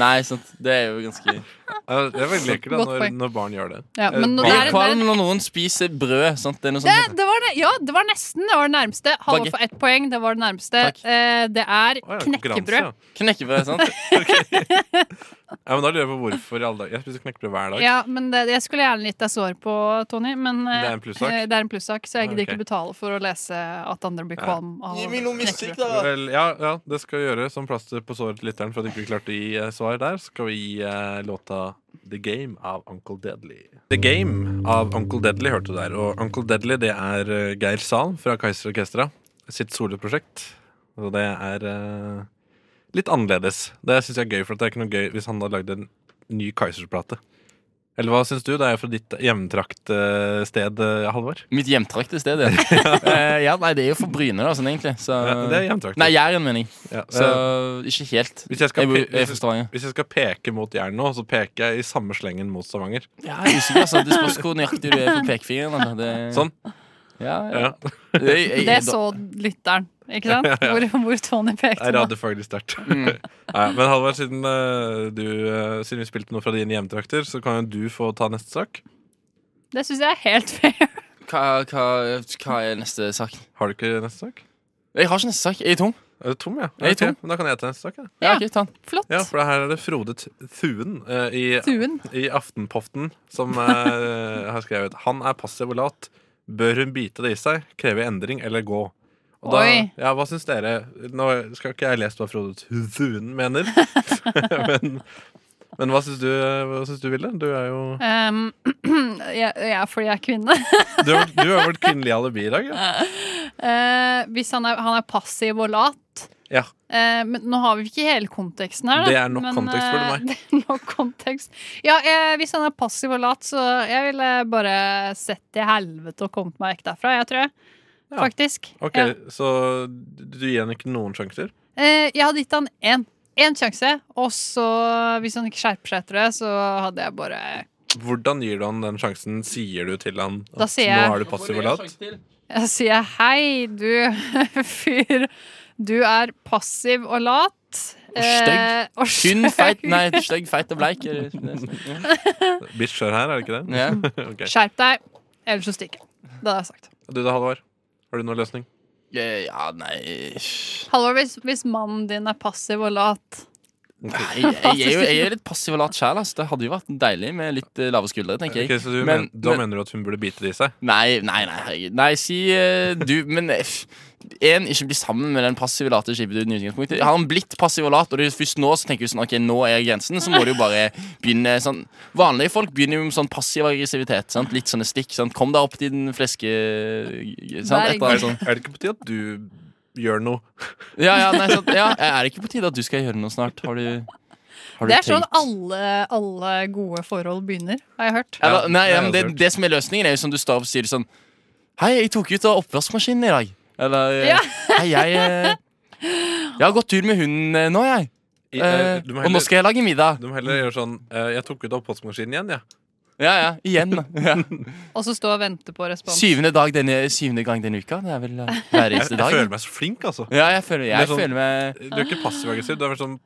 Nei, sant. Det er jo ganske Ja, Det er veldig ekkelt da, Godt når, poeng. når barn gjør det. Ja, men nå- Eh, Blir det er- Blir det det er- kvalm når noen spiser brød. Sant? Det er noe sånn sånt. Det var, ne- ja, det var nesten. Det var det nærmeste. Halvor Baguette. får ett poeng. Det var det nærmeste. Takk. Eh, det Å, er ja, konkurranse, knekkebrød. ja. Knekkebrød, sant? Ja, men da lurer jeg på hvorfor i alle dager. Jeg spiser knekkebrød hver dag. Ja, men det, Jeg skulle gjerne gitt deg sår på, Tony, men eh, Det er en plussak. eh, [laughs] det er en plussak, så jeg Ah, gidder ok. ikke betale for å lese at andre blir Ja. kvalm av knekkebrød. Vel, ja, ja, det skal vi gjøre som plaster på såret til lytteren for at ikke vi klarte å gi eh, svar der. Så skal vi gi eh, låta The Game av Uncle Deadly. The Game av Uncle Deadly hørte du der. Og Uncle Deadly det er eh, Geir Zahl fra Kaiser Orkestra sitt soloprosjekt. Og det er eh, litt annerledes. Det syns jeg er gøy, for det er ikke noe gøy hvis han hadde lagd en ny Kaizers-plate. Eller hva syns du? Det er jo fra ditt hjemtrakt eh, sted, eh, Halvor. Mitt hjemtrakte [laughs] sted, ja. Eh, ja. Nei, det er jo for Bryne, da, sånn egentlig. Så... Ja, det er hjemtrakt. Nei, Jæren, mener jeg. Ja, Så eh, ikke helt. Hvis jeg skal bor pe- jeg er fra Stavanger. Hvis jeg skal peke mot Jæren nå, så peker jeg i samme slengen mot Stavanger. Ja, jeg er usikker, altså. Det spørs hvor nøyaktig du er på pekefingeren. altså. Det... Sånn. Ja, ja. Ja. Det, jeg, Det så lytteren, ikke [laughs] sant? Hvor, hvor Tony pekte Jeg nå. rader faglig sterkt. Mm. [laughs] Ja, men Halvard, siden, eh, du, eh, siden vi spilte noe fra dine hjemtrakter, så kan jo du få ta neste sak. Det syns jeg er helt fair. hva, hva, hva er neste sak? Har du ikke neste sak? Jeg har ikke neste sak. Jeg er tom. Er du tom, ja? Jeg er Ok, tom. men Da kan jeg ta neste sak. Ja, Ja, Ja. ok, ta den. Flott. ja For her er det Frode T- Thuen eh, i, Tuen. i Aftenpoften som eh, [laughs] har skrevet Han er passiv og lat. Bør hun bite det i seg, kreve endring eller gå? Og da, Oi. ja, Hva syns dere? Nå skal ikke jeg lese hva Frode Thuen mener, [laughs] men, men hva syns du, hva syns du Ville? Du, er jo, Um, [clears throat] jeg, jeg er fordi jeg er kvinne. du, har, vært- du har vært kvinnelig alibi i dag, ja. Eh, hvis han er, han er passiv og lat ja. eh, Men nå har vi ikke hele konteksten her. da. Det er nok men, kontekst, spør du eh, meg. [laughs] Det er nok kontekst. Ja, eh, hvis han er passiv og lat, så jeg ville bare sett til helvete og kommet meg vekk derfra, jeg tror jeg. Ja. Faktisk. Ok, Ja. Så du gir henne ikke noen sjanser? Eh, jeg hadde gitt han én. Én sjanse, og så, hvis han ikke skjerper seg etter det, så hadde jeg bare Hvordan gir du han den sjansen? Sier du til han Da at sier jeg- nå er du passiv og lat? Jeg sier hei, du [laughs] fyr. Du er passiv og lat. Eh, Og stygg. og Tynn, feit, [laughs] stygg. nei, stygg, feit og bleik. er det- det- Bitch sjøl her, er det ikke det? Ja. [laughs] Ok. Skjerp deg, ellers så stikker jeg. Det hadde jeg sagt. Du da, Halvor? Har du noen løsning? Ja, ja, nei Halvor, hvis, hvis mannen din er passiv og lat Nei, jeg, jeg, er jo, jeg er litt passiv og lat sjæl. Altså. Det hadde jo vært deilig med litt eh, lave skuldre. tenker Ok, jeg så du Men- men, da mener du at hun burde bite det i seg? Nei, nei, nei, herregud. nei si eh, du Men én, ikke bli sammen med den passive late skipetuden. i utgangspunktet. Har han blitt passiv og lat, og det er først nå så tenker du sånn, ok, nå er grensen, så må du jo bare begynne sånn Vanlige folk begynner jo med sånn passiv aggressivitet. Sant? Litt sånne stikk. Sant? Kom deg opp til den fleske... eh, Sant? Et eller annet sånt. Sånn. Er det ikke på tide at du gjør noe? Ja, ja, nei, sant? ja, Er det ikke på tide at du skal gjøre noe snart? Har du, har du Det er sånn tenkt- alle, alle gode forhold begynner, har jeg hørt. Eller, nei, det ja, er men det, lurt. det som er løsningen, er jo sånn du står opp og sier sånn Hei, jeg tok ut av oppvaskmaskinen i dag. Eller Ja. Hei, jeg eh, Jeg har gått tur med hunden eh, nå, jeg. I, Eh, eh, du, og må nå heller, skal jeg lage middag. du må heller gjøre sånn eh, Jeg tok ut oppvaskmaskinen igjen, ja. Ja, ja, [laughs] igjen. Ja. Og så stå og vente på respons. Syvende, dag denne, syvende gang denne uka. Det er vel eh, hver Jeg, eneste jeg dag. føler meg så flink, altså. Ja, jeg føler, jeg Det er sånn- føler meg Du er ikke passiv-aggressiv, du er vel sånn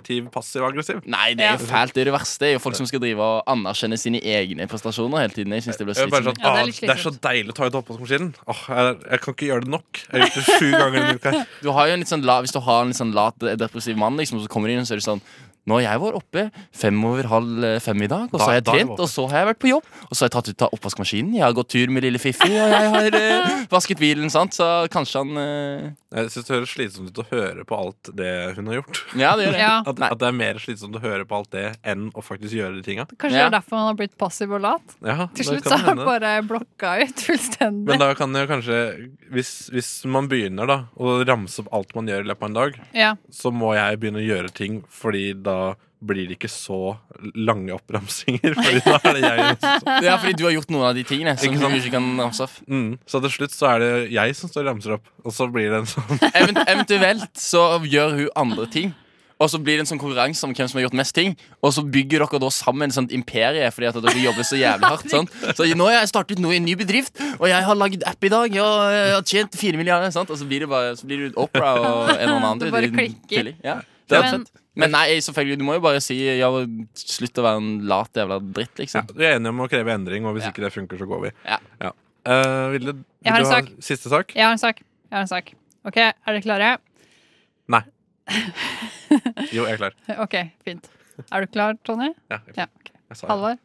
positiv-passiv-aggressiv. Nei, det er jo Ja. fælt. Det er det verste. Det er jo folk som skal drive og anerkjenne sine egne prestasjoner hele tiden. Jeg synes det blir Jeg er bare slitsomt. sånn, Ja, det er «Ah, litt det er så slitsomt. deilig å ta ut oppvaskmaskinen. Åh, jeg, jeg kan ikke gjøre det nok. Jeg har gjort det sju ganger denne uka. her. Du har jo en litt sånn la, hvis du har en litt sånn lat, depressiv mann, liksom, og så kommer du inn, og så er det sånn Nå har jeg vært oppe fem over halv eh, fem i dag, og så Da- har jeg da er det trent, våpen. og så har jeg vært på jobb, og så har jeg tatt ut av oppvaskmaskinen, jeg har gått tur med lille Fiffi, og jeg har eh, [laughs] vasket bilen, sant, så kanskje han eh, Jeg synes det høres slitsomt ut å høre på alt det hun har gjort. Ja, det gjør det. Ja. At, Nei. at det er mer slitsomt å høre på alt det enn å faktisk gjøre de tinga. Kanskje det Ja. er derfor han har blitt passiv og lat? Ja, det Til slutt kan så har han hende. bare blokka ut fullstendig. Men da kan jo kanskje hvis, hvis man begynner da å ramse opp alt man gjør i løpet av en dag, Ja. så må jeg begynne å gjøre ting, fordi da blir det ikke så lange oppramsinger. [laughs] Fordi da er det jeg som- Det er fordi du har gjort noen av de tingene som du Ikke sant? ikke kan ramse opp. mm. Så til slutt så er det jeg som står og ramser opp, og så blir det en [laughs] sånn Event eventuelt så gjør hun andre ting. Og så blir det en sånn konkurranse om hvem som har gjort mest ting. Og så bygger dere da sammen et sånt imperie fordi at dere jobber så jævlig hardt. Sant? Så nå har jeg startet noe i en ny bedrift, og jeg har lagd app i dag. Og jeg har tjent [laughs] fire milliarder. Sant? Og så blir det bare så blir det opera og en og annen andre. Det bare i- klikker. tidlig. Ja. Det er Men- fett. Men nei, selvfølgelig, du må jo bare si ja, slutt å være en lat jævla dritt, Ja, liksom. vi er enige om å kreve endring, og hvis Ja. ikke det funker, så går vi. Ja. Eh, Ville, vil Jeg har du ha en sak. siste sak? Jeg har en sak. Jeg har en sak. OK, er dere klare? Nei. Jo, jeg er klar. OK, fint. Er du klar, Tonje? Ja, jeg er Ja. klar. Jeg sa ja. Halvor?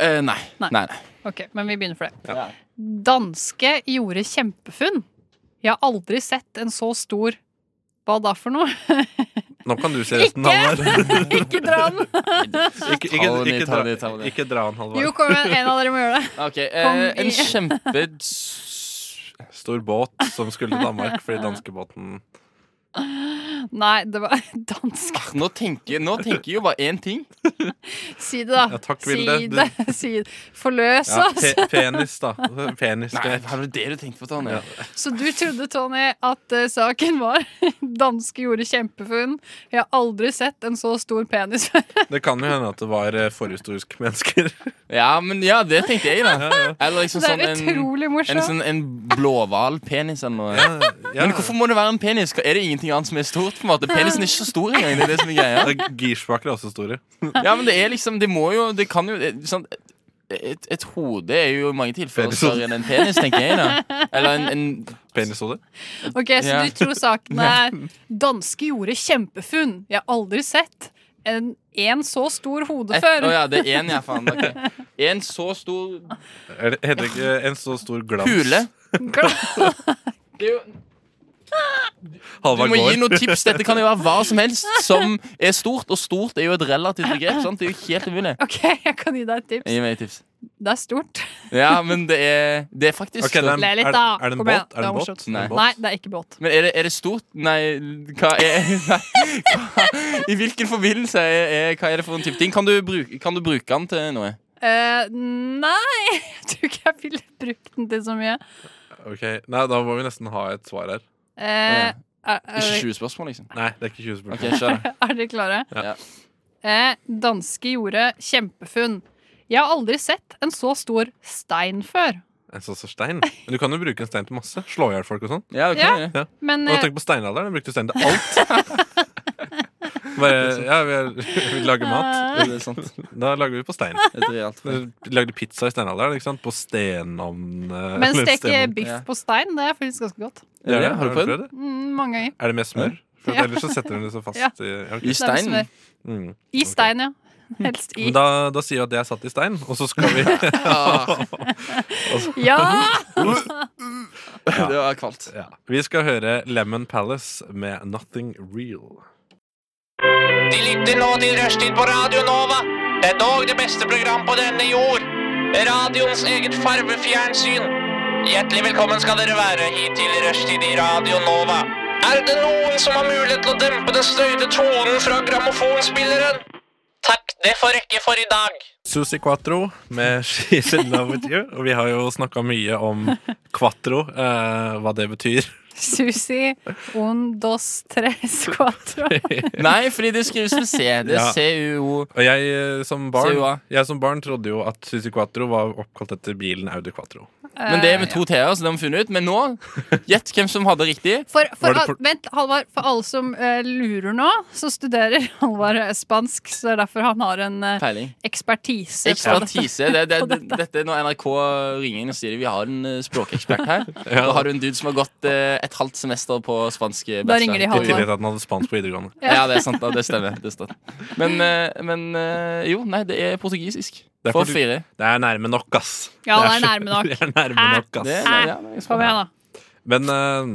Eh, nei. Nei. Nei. nei. OK, men vi begynner for det. Ja. Danske gjorde kjempefunn. Jeg har aldri sett en så stor Hva da for noe? [laughs] Nå kan du si resten, Ikke! [laughs] Halvard. Ikke dra den! Ikke, ikke, Ta den i, ikke, ta dra, den i, ta den i. ikke dra han, Halvard. Jo, kom igjen. En av dere må gjøre det. Ok, eh, Kom i- En kjempe... s- Stor båt som skulle til Danmark [laughs] fordi danskebåten Nei, det var [laughs] dansk. Ah, Nå tenker, nå tenker jeg jo bare én ting. Si det, da. Ja, takk, si Vilde. Du- det. [laughs] Si det. Forløs altså. ja, oss. pe Penis, da. Penis. Nei, det- var det det du tenkte på, Tanja? Ja. Så du trodde, Tony, at eh, saken var [laughs] danske gjorde kjempefunn. Jeg har aldri sett en så stor penis før. Det kan jo hende at det var eh, forhistoriske mennesker. Ja, men ja, det tenkte jeg, da. Eller liksom Det sånn er en, utrolig en, morsomt. sånn, en blåhvalpenis eller noe. Ja, ja. Men hvorfor må det være en penis? Er det ingenting annet som er stort? på en måte? Penisen er ikke så stor engang. Det er det som er [laughs] greia. Ja, Girspaker Eh, er også store. Ja, men det er liksom Det må jo Det kan jo det- sånn, et, et hode er jo i mange tilfeller Penis. større enn en penis, tenker jeg. da Eller en, en Penishode. Ok, Så sånn- Ja. du tror [laughs] saken er danske gjorde kjempefunn. Jeg har aldri sett en, en så stor hode et, før. Å ja, det er én, ja, faen. ok. En så stor Er det- Heter det ikke en så stor glans? pule. Det er jo, du Halvard må gi går. noen tips. Dette kan jo være hva som helst som er stort, og stort er jo et relativt begrep. sant? Det er jo helt umulig. Ok, [laughs] jeg kan gi deg et tips. Gi meg et tips. Det er stort. Ja, men det er, det er faktisk Ok, det stort. er, Le litt, er, da. er det en Kom igjen, båt? det Er det var en båt? morsomt. Er det en båt? Nei, det er ikke båt. Men er det, er det stort? Nei, hva er [laughs] nei, hva, I hvilken forbindelse er, er Hva er det for en type ting? Kan du bruke, kan du bruke den til noe? Eh, nei, [laughs] jeg tror ikke jeg ville brukt den til så mye. Ok, Nei, da må vi nesten ha et svar her. Eh, er, Ikke er, 20 spørsmål, liksom? Nei, det er ikke 20 spørsmål. Ok, kjør da. [laughs] er dere klare? Ja. Eh, danske gjorde kjempefunn. Jeg har aldri sett en så stor stein før. En så stor stein. Men du kan jo bruke en stein til masse. Slå i hjel folk og sånn. Ja, ok. Ja. Men Og eh, tenk på steinalderen. Den brukte stein til alt. Bare, ja, vi, er, [laughs] vi lager mat. Det er sant. Da lager vi på stein. Det er alt for- Vi Eh, Lagde pizza i steinalderen, ikke sant? På stenovn. eh, [laughs] men eller steke stenovn. biff Ja. på stein, det er faktisk ganske godt. Er det det? Har du prøvd? det? Mm, mange ganger. Er det med smør? For Ja. Ellers så setter den det så fast. Ja. i- ja, I ok. Det er med stein? smør. Mm. I stein, ja. Helst i. Men da, da sier vi at det er satt i stein, og så skal vi [laughs] Ja! Det var kvalt. Ja. [laughs] Vi skal høre Lemon Palace med Nothing Real. De lytter nå til Rushtid på Radio Nova. Det er dog det beste program på denne jord. Radioens eget farvefjernsyn. Hjertelig velkommen skal dere være hit til Rushtid i Radio Nova. Er det noen som har mulighet til å dempe den støyte tonen fra grammofonspilleren? Takk, det får rekke for i dag. Susi Quatro med [laughs] She's in love with you. Og vi har jo snakka mye om quatro, eh, hva det betyr. Susi, un, dos, tres, cuatro. Nei, fordi det skrives med C. Det Ja. er CUO. Og jeg eh, som barn, CUA. jeg som barn trodde jo at Susi Quatro var oppkalt etter bilen Audi Quatro. Men det er med to T-er, så det har vi funnet ut. Men nå, gjett hvem som hadde riktig. For, for, Var det al- for- vent, Halvard, for alle som eh, lurer nå, så studerer [laughs] Halvard eh, spansk. Så det er derfor han har en eh, Peiling. ekspertise. på dette. Ekspertise. Det, det, det, dette er når NRK ringer inn og sier vi har en eh, språkekspert [laughs] her. Da har du en dude som har gått eh, et halvt semester på spansk eh, Da ringer de I Halvor. tillegg til at den hadde spansk på videregående. Ja, det er sant. da, Det stemmer. Det stemmer. Men, eh, men eh, jo, nei, det er portugisisk. Det er For portu- fire. Det er nærme nok, ass. Ja, det er så- nærme nok. [laughs] Det er nærme Hæ? nok, ass. Det, Hæ? ja, det er Kom igjen, da. Men eh,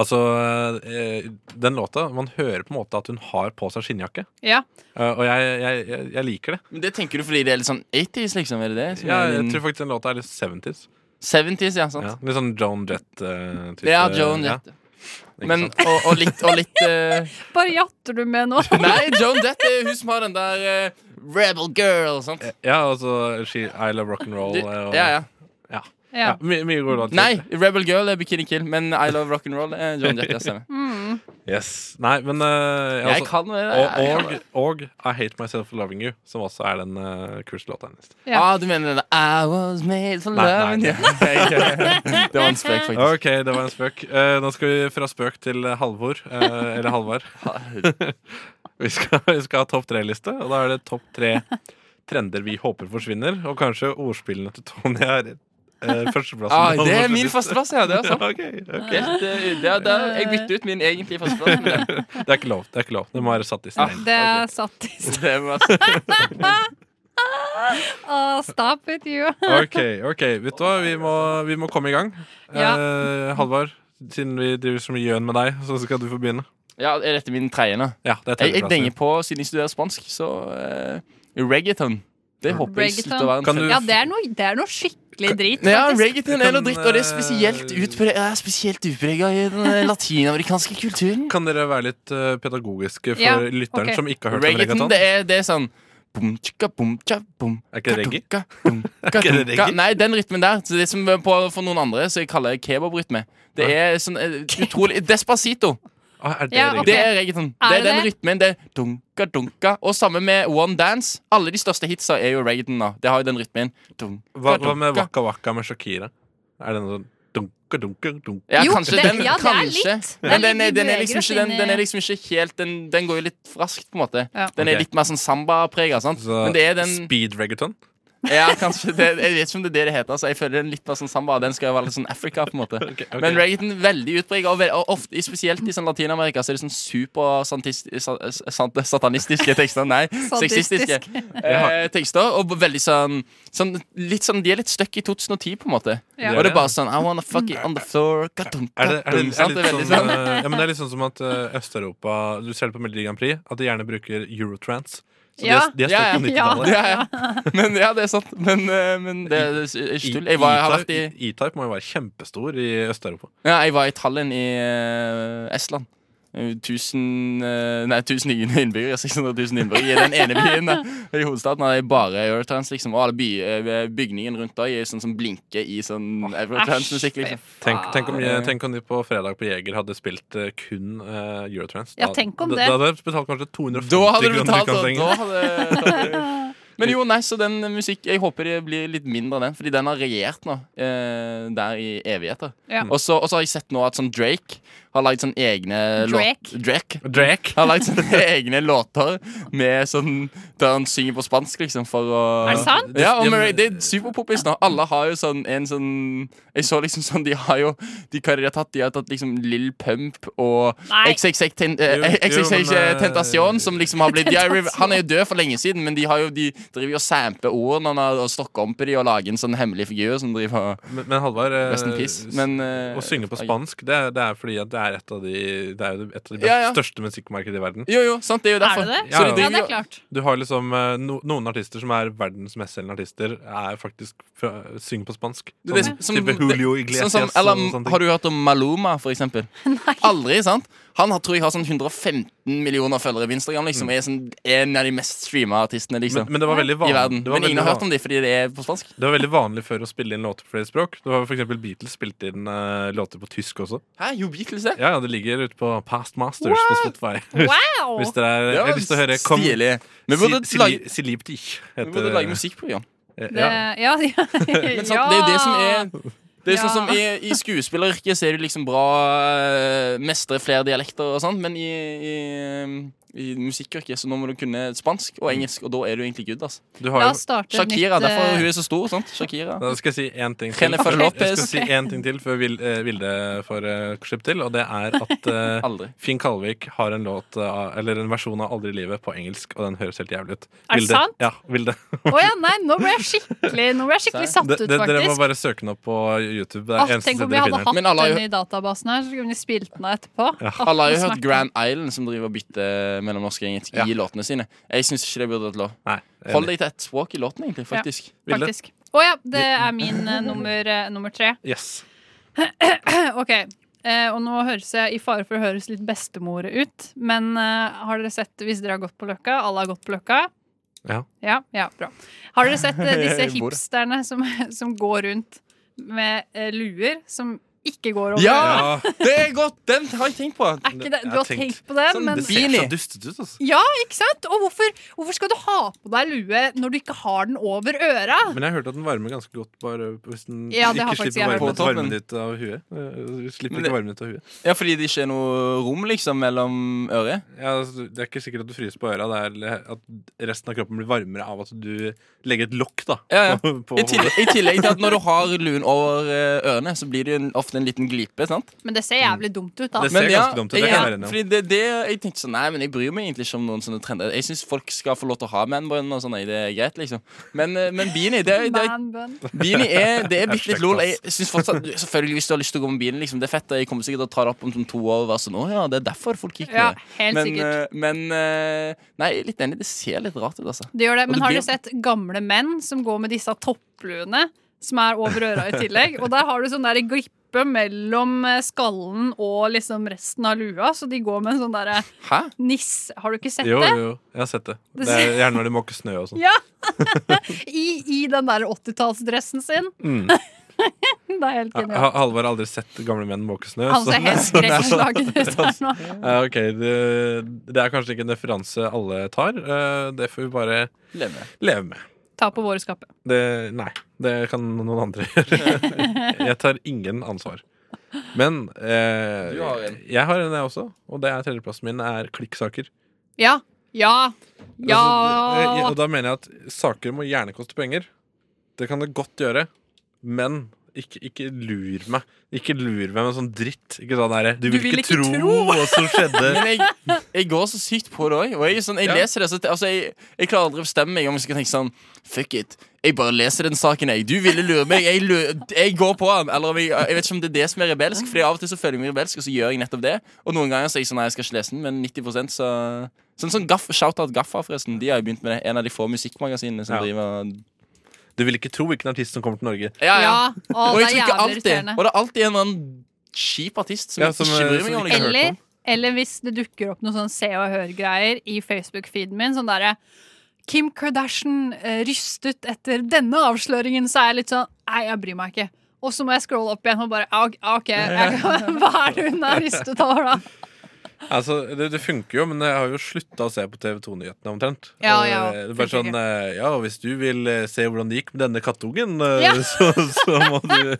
altså eh, Den låta Man hører på en måte at hun har på seg skinnjakke. Ja. Eh, og jeg, jeg, jeg, jeg liker det. Men det tenker du fordi det er litt sånn 80s, liksom? Er det det? som Ja, er jeg din- tror faktisk den låta er litt 70s. 70s, ja. Ja, Sant. litt sånn Joan eh, Jett-type. Ja, Joan Jett. Men, og, og litt, og litt eh, [laughs] Bare jatter du med nå? Nei, Joan Jett er hun som har den der eh, Rebel Girl, sant? Ja, altså she, I Love Rock'n'Roll. Du, eh, Og, ja, ja. ja, Ja. my, mye gode låter. [laughs] Nei, Rebel Girl er Bikini Kill, men I Love Rock'n'Roll er Joan Jett. Ja, stemmer. Yes. Nei, men eh, jeg Jeg også- kan det. jeg kan Mm. og, det. og, og I Hate Myself for Loving You, som også er den uh, kurslåta hennes. Ja. Ah, du mener den der, I was made for Nei, love nei, [laughs] Det var en spøk, faktisk. OK, det var en spøk. Eh, nå skal vi fra spøk til eh, Halvor. eh, eller Halvard. [laughs] Vi skal, vi skal ha topp tre-liste, og da er det topp tre trender vi håper forsvinner. Og kanskje ordspillene til Tony er eh, førsteplassen. Ah, på det er min liste. førsteplass, ja. Det er sant. Ja, [laughs] ok, ok. Det, det, det, det, jeg bytter ut min egentlige førsteplass. med [laughs] den. Det er ikke lov. Det er ikke lov. Det må være satt i Ah, stein. Det er satt i Det er masse- oh, Stop it, you. [laughs] Ok, ok, vet du hva? Vi må, vi må komme i gang. Eh, Halvard, siden vi driver så mye gjøn med deg, så skal du få begynne. Ja, er dette min tredje nå? Ja, det er Jeg, jeg denger tredjeplassen. på, siden jeg studerer spansk, så eh, reggaeton. Det håper jeg slutter å være en Mm. Kan du- Ja, det er noe, det er noe skikkelig drit. Nei, Ja, faktisk. reggaeton er Kan, noe dritt, og det er eh, spesielt utpre- ja, spesielt utprega i den eh, latinamerikanske kulturen. Kan dere være litt eh, pedagogiske for Ja, lytteren ok. som ikke har hørt om Reggaeton, reggaeton? det er, det er sånn bum, tjukka, bum, tja, bum, Er ikke det reggae? [laughs] ka, dum, ka, ikke det dum, ka. reggae? Nei, den rytmen der. Så det som på, for noen andre så jeg kaller jeg kebabrytme. Det er sånn eh, utrolig Despacito. Ah, er det Ja, reggaeton? Det er reggaeton. Er Det er det den det? rytmen. Det er dunka, dunka. Og samme med One Dance. Alle de største hitsa er jo reggaeton. da Det har jo den rytmen. Dunka, Hva, hva med dunka. Waka Waka med Shakira? Er det noe sånn dunke, dunke, dunke? Ja, Jo, kanskje det- den, ja, det er kanskje. litt. Det er Men den er, litt vi den, er beveger liksom oss ikke, den, inn i- den er liksom ikke helt Den, den går jo litt raskt, på en måte. eh. Ja. Den er Ok. litt mer sånn samba-prega. Så Men det er den Altså, Speed reggaeton? Ja, kanskje det, Jeg vet ikke om det er det det heter. Altså, jeg føler den litt mer sånn samba. Den skal jo være litt sånn Africa, på en måte. [laughs] ok. Men reggaeton er veldig utpreget og, ve- og ofte, spesielt i sånn Latin-Amerika så er det sånn super-satanistiske tekster. Nei, sexistiske eh, tekster. Og veldig sånn, sånn, litt sånn De er litt stuck i 2010, på en måte. Ja. Og det er bare sånn I wanna fuck it on the floor. Katum, Er det, er det, katum, er sant? det Det er litt veldig sånn sånn eh, Ja, men det er litt sånn som at eh, Øst-Europa Du ser det på Melodi Grand Prix, at de gjerne bruker Eurotrans. Så Ja. de, er- de er støtt på Ja, [laughs] ja. [laughs] 90-tallet. ja, ja. Men, ja, det er sant. Men, eh, men det, det er ikke tull. Jeg, var, jeg har vært i E-Type- E-Type må jo være kjempestor i Øst-Europa. Ja, jeg var i Tallinn i eh, Estland. Eh, 1000 eh, Nei, 1000 nye innbyggere. [laughs] 600 000 innbyggere i den ene byen. da. I hovedstaden er det bare Eurotrans, liksom. Og alle by, eh, bygningen rundt deg er sånn som blinker i sånn Eurotrans-musikk, liksom. Tenk, tenk, om, Ja. tenk om de på fredag på Jeger hadde spilt eh, kun eh, Eurotrans. Ja, tenk om da, det. da hadde jeg betalt kanskje 250 Da hadde du betalt, kroner i og utkantsengen. da hadde Men jo, nei, så den musikk Jeg håper det blir litt mindre av den, fordi den har regjert nå eh, der i evigheter. Ja. Og så og så har jeg sett nå at sånn Drake har lagd sånne egne låt- Drake. Drake. Han har lagd sånne [laughs] egne låter med sånn, der han synger på spansk, liksom, for å Er det sant? Ja, og Mary, det er superpoppis nå. Alle har jo sånn en sånn Jeg så liksom sånn De har jo De hva er det de har tatt? De har tatt liksom Lill Pump og Nei. XXX Ten- eh, Jo, jo, XXX men, eh, Tentacion, som liksom har blitt de har, jo- Han er jo død for lenge siden, men de har jo De driver jo og samper ordene han har- og stokker om på de og lager en sånn hemmelig figur som driver og Men, men Halvard eh, Rest in peace. Men eh, Å synge på ok. spansk, det, er- det er fordi at det er et av de, det er jo et av de best, Ja, ja. største musikkmarkedene i verden. Jo, jo, sant, det er jo Er derfor. det det? Så de Ja, ja. Ja, driver det jo- er klart. Du har liksom eh, no, Noen artister som er verdens mestselgende artister, er faktisk fra, synger på spansk. Det er Sånn som- type Julio Sånn Iglesias som, eller, og sånne ting. har du hørt om Maluma, for [laughs] eksempel? Nei. Aldri, sant? Han har, tror jeg har sånn 115 millioner følgere på Instagram. Liksom, er sånn, en av de mest streama artistene liksom, Mm. men, men det var veldig i vanlig, verden. det var Men ingen har veldig hørt van- om de fordi det er på spansk. det var veldig vanlig før å spille inn låter på flere språk. Det var for eksempel Beatles spilte inn eh, låter på tysk også. Hæ, jo, Beatles det? Ja, ja, det ligger ute på Past Masters på Spotify. Wow! [laughs] Hvis dere er, jeg har lyst til å høre kom, Stilig. Vi burde, Si- lage, Si- eh, Siliptich vi burde lage Eh, musikkprogram. Det, ja, ja. [laughs] Men sant, det er jo det som er det er sånn som I, i skuespilleryrket så er du liksom bra eh, mestre flere dialekter og sånn, men i, i, i musikkyrket så nå må du kunne spansk og engelsk, og da er du egentlig good. altså. ass Du La har jo oss starte et Shakira, nytt, eh, derfor hun er så stor, sant? Shakira. Da skal jeg si én ting til. Jennifer Jeg skal Lopez. si en ting til før Vil- eh, Vilde får eh, slipp til, og det er [laughs] at eh, Aldri. Finn Kalvik har en låt eh, av- Eller en versjon av Aldri i livet på engelsk, og den høres helt jævlig ut. Er det Vilde- sant? Ja, Vilde. eh, Å ja, nei, nå ble jeg skikkelig, nå ble jeg skikkelig satt De, ut, de, dere må faktisk. bare søke den opp på YouTube. Det Åh, er eneste stedet tenk om vi dere hadde finner den. hatt Men alle har jo- den i databasen her, så kunne vi spilt den av etterpå. Åh, Alle har jo nå hørt smerter Grand Island, som driver og bytter eh, mellom norsk og engelsk Ja. i låtene sine. Jeg syns ikke det burde vært lov. Nei, Hold enig. deg til ett språk i låten, egentlig. Ja. faktisk den, Vilde. Faktisk. Å ja, det er min eh, nummer, eh, nummer tre. Yes. [laughs] Ok, eh, og nå høres jeg i fare for å høres litt bestemor ut, men eh, har dere sett, hvis dere har gått på Løkka, alle har gått på Løkka? Ja. Ja, ja, bra. Har dere sett eh, disse Jeg bor- hipsterne som, som går rundt med eh, luer som ikke går over. Ja! Det er godt! Den har jeg tenkt på. Er ikke det, Jeg du har tenkte- tenkt på det, Sånn, [laughs] men det ser så dustete ut, altså. Ja, ikke sant? Og hvorfor, hvorfor skal du ha på deg lue når du ikke har den over øra? Men jeg hørte at den varmer ganske godt bare hvis den Ja, det har ikke faktisk slipper jeg hørt. varmen, På toppen. varmen ditt av huet. Eh, Slipper Men ikke det- varmen ut av huet. Ja, fordi det ikke er noe rom liksom mellom øret. Ja, altså, det er ikke sikkert at du fryser på øra. Det er at resten av kroppen blir varmere av at du legger et lokk da Ja, ja. [laughs] på, på I hodet. tillegg, I tillegg til at når du har luen over eh, ørene, så blir det jo en, ofte en liten glipe. sant? Men det ser jævlig dumt ut, da. Det ser- Men ja, ganske dumt ut, det jeg, kan jeg være enig i. fordi det, det, jeg tenkte sånn, nei, men jeg bryr meg egentlig ikke om noen sånne trender. Jeg syns folk skal få lov til å ha manbun og sånn. nei, Det er greit, liksom. Men, eh, men beanie, det, er- det, er- Man bun. beanie er, det er bitte Hashtag litt lol. Jeg synes fortsatt, Selvfølgelig, hvis du har lyst til å gå med beanie, liksom, det er fett. og Jeg kommer sikkert til å ta det opp om sånn to år og være sånn, å ja, det er derfor folk gikk med Ja, det. [laughs] helt Men, sikkert. eh, men eh, Nei, jeg er litt enig. Det ser litt rart ut, altså. Det gjør det. og Men det har blir- dere sett gamle menn som går med disse toppluene som er over øra i tillegg? Og der har du sånn der glippe mellom eh, skallen og liksom resten av lua, så de går med en sånn derre Hæ? niss... Har du ikke sett Jo, det? jo, jeg har sett det. Det det er gjerne når de måker snø og sånn. Ja! I, I den der 80-tallsdressen sin. Mm. [laughs] Det er helt Ha- genialt. Ha- Halvor har aldri sett gamle menn måke snø. Han så- sånn- sånn. ser helt skrekkslagen ut der nå. Ja, ok, det, det er kanskje ikke en referanse alle tar. eh, Det får vi bare Leve. leve med. Ta på våre skape. Det, nei, det kan noen andre [laughs] gjøre. Jeg tar ingen ansvar. Men eh, Du har en. jeg har en, jeg også. Og det er tredjeplassen min er klikksaker. Ja. Ja. Altså, eh, Ja. og da mener jeg at saker må gjerne koste penger. Det kan det godt gjøre. Men ikke, ikke lur meg. Ikke lur meg med sånn dritt. Ikke sånn derre Du, vil ikke tro, [laughs] hva som skjedde. [laughs] Men jeg, jeg går så sykt på det òg. Og jeg, er sånn, jeg Ja. leser det så, altså, jeg, jeg klarer aldri å bestemme meg om jeg skal tenke sånn Fuck it. Jeg bare leser den saken, jeg. Du ville lure meg. Jeg, lu- jeg går på den. Eller om jeg, jeg vet ikke om det er det som er rebelsk, Fordi av og til så føler jeg meg rebelsk, og så gjør jeg nettopp det. Og noen ganger så er jeg sånn Nei, jeg skal ikke lese den, men 90 så Sånn som Gaff, Shoutout Gaffa, forresten. De har jo begynt med det. En av de få musikkmagasinene som Ja. driver Du vil ikke tro hvilken artist som kommer til Norge. Ja, ja. Å, Og jeg det er tror ikke jævlig alltid Og irriterende. det er alltid en eller annen kjip artist som Ja, jeg som, ikke bryr meg som om. ikke Liksom. har hørt Eller, om. eller hvis det dukker opp noen sånn se og hør-greier i Facebook-feeden min, sånn derre Kim Kardashian eh, rystet etter denne avsløringen, så er jeg litt sånn Nei, jeg bryr meg ikke. Og så må jeg scrolle opp igjen og bare ah, ok, ah, OK, jeg [laughs] kan, hva er det hun er rystet over, da? Altså, det, det funker jo, men jeg har jo slutta å se på TV 2-nyhetene omtrent. Ja, ja, Eh, det er bare funker sånn, eh, ja, hvis du vil eh, se hvordan det gikk med denne kattungen, eh, Ja. [laughs] så, så må du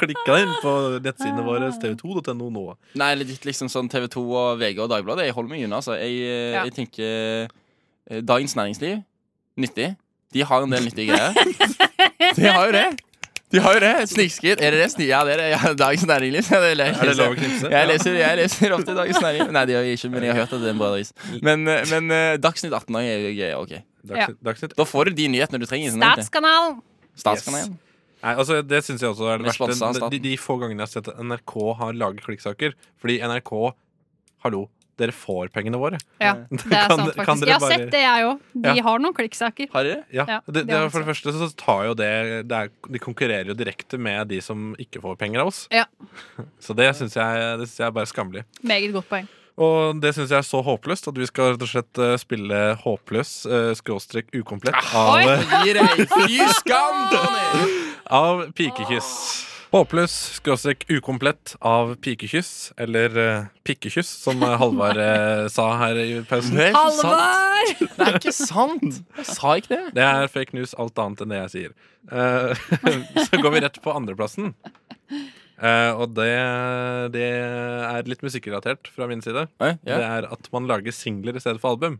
klikke deg inn på nettsidene våre tv2.no nå. Nei, legit liksom sånn TV 2 og VG og Dagbladet. Jeg holder meg unna. Altså. Jeg, eh, Ja. jeg tenker eh, Dagens Næringsliv, nyttig. De har en del nyttige greier. De har jo det. De har jo det. Snikskritt. Er det det? Sni- Ja, det er det. Ja, Dagens Næringsliv. Ja, det Er det lov å knipse? Jeg leser, jeg leser ofte Dagens Næringsliv. Nei, det gjør jeg ikke, men jeg har hørt at det er en bra avis. Men, eh, men eh, Dagsnytt 18 også er jo greier. Ok. Dagsnytt. Dagsnytt. Da får du de nyhetene du trenger. Sånn, Statskanalen! Statskanalen. Nei, altså, det synes jeg også er det Med sponsa av verste. staten. De, de få gangene jeg har sett at NRK har laget klikksaker. Fordi NRK Hallo, dere får pengene våre. [laughs] Ja, Eh, det er Kan- kan sant, faktisk. dere Jeg har bare- sett det, jeg òg. De Ja. har noen klikksaker. Har de det? Ja, Ja, det, det det, har jeg For det første så tar jo det, det er, De konkurrerer jo direkte med de som ikke får penger av oss. Ja. Så det syns jeg, det synes jeg er bare skammelig. Meget godt poeng. Og det syns jeg er så håpløst at vi skal rett og slett eh, spille håpløs eh, skråstrek ukomplett av, eh, Gi deg. Fy skam! Tony! av pikekyss. Håpløs skråstrek ukomplett av pikekyss, eller eh, pikkekyss, som eh, Halvard eh, sa her i pausen. Det er ikke sant. Halvard! Det er ikke sant! Jeg sa ikke det. Det er fake news, alt annet enn det jeg sier. Eh, [laughs] så går vi rett på andreplassen. Eh, og det, det er litt musikkrelatert fra min side. Eh, Det er at man lager singler i stedet for album.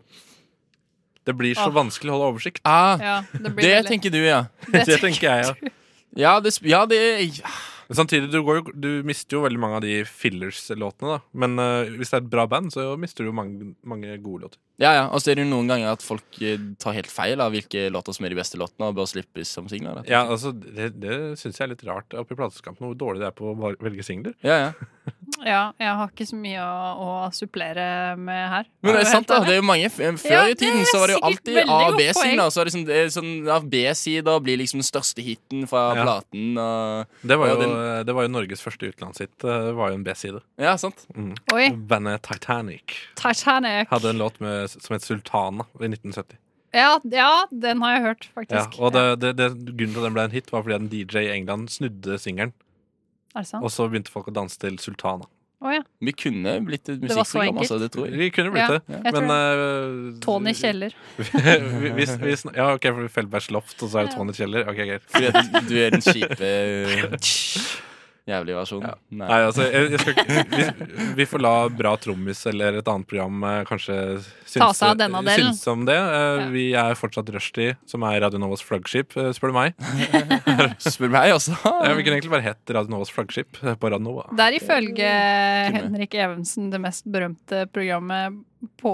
Det blir så Åh. vanskelig å holde oversikt. Ah, Ja, det blir det veldig- tenker du, ja. [laughs] Det tenker jeg, ja. Ja, det, sp- ja, det ja. Men Samtidig, du, går jo, du mister jo veldig mange av de fillers-låtene, da. Men eh, hvis det er et bra band, så mister du jo mange, mange gode låter. ja, ja. Og så er det jo noen ganger at folk eh, tar helt feil av hvilke låter som er de beste låtene, og bør slippes som singler. da. Ja, altså, Det, det syns jeg er litt rart oppe i plateskampen, hvor dårlig det er på å val- velge singler. Ja, ja. Ja, jeg har ikke så mye å, å supplere med her. Men det er Helt sant, da. ærlig. Det er jo mange f- Før Ja, i tiden det er så var det jo sikkert alltid veldig A- og godt B-sider. poeng. Så er det sånn, det er sånn ja, B-sider blir liksom den største hiten fra Ja. platen. Og, Det var Ja, jo, det var jo Norges første utenlandshit. Det var jo en B-side. ja, sant. Oi, Bandet Titanic Titanic. hadde en låt med, som het Sultana i 1970. Ja, ja, den har jeg hørt, Ja, faktisk. og det, det, det, grunnen til at den ble en hit, var fordi en DJ i England snudde singelen. Er det sant? Og så begynte folk å danse til Sultana. Å ja. Vi kunne blitt et Det var så musikkprogram, enkelt. altså. Det tror jeg. Vi kunne blitt Ja, det. jeg tror Men det. eh, Tony Kjeller. vi, vi, vi, sn- ja, ok, for Feldbergs loft, og så er det Ja. Tony Kjeller. Ok, greit. Fordi at du er den kjipe [laughs] jævlige versjonen. Nei. Nei, altså, jeg, jeg skal, ikke- vi, vi får la Bra trommis eller et annet program eh, kanskje Ta seg av denne delen. synes om det. Eh, Ja. Vi er fortsatt Rushdie, som er Radio Novas flaggskip, eh, spør du meg. Spør meg altså. også. Eh, Vi kunne egentlig bare hett Radio Novas flaggskip eh, på Radio Nova. Det er ifølge Kunne. Henrik Evensen det mest berømte programmet på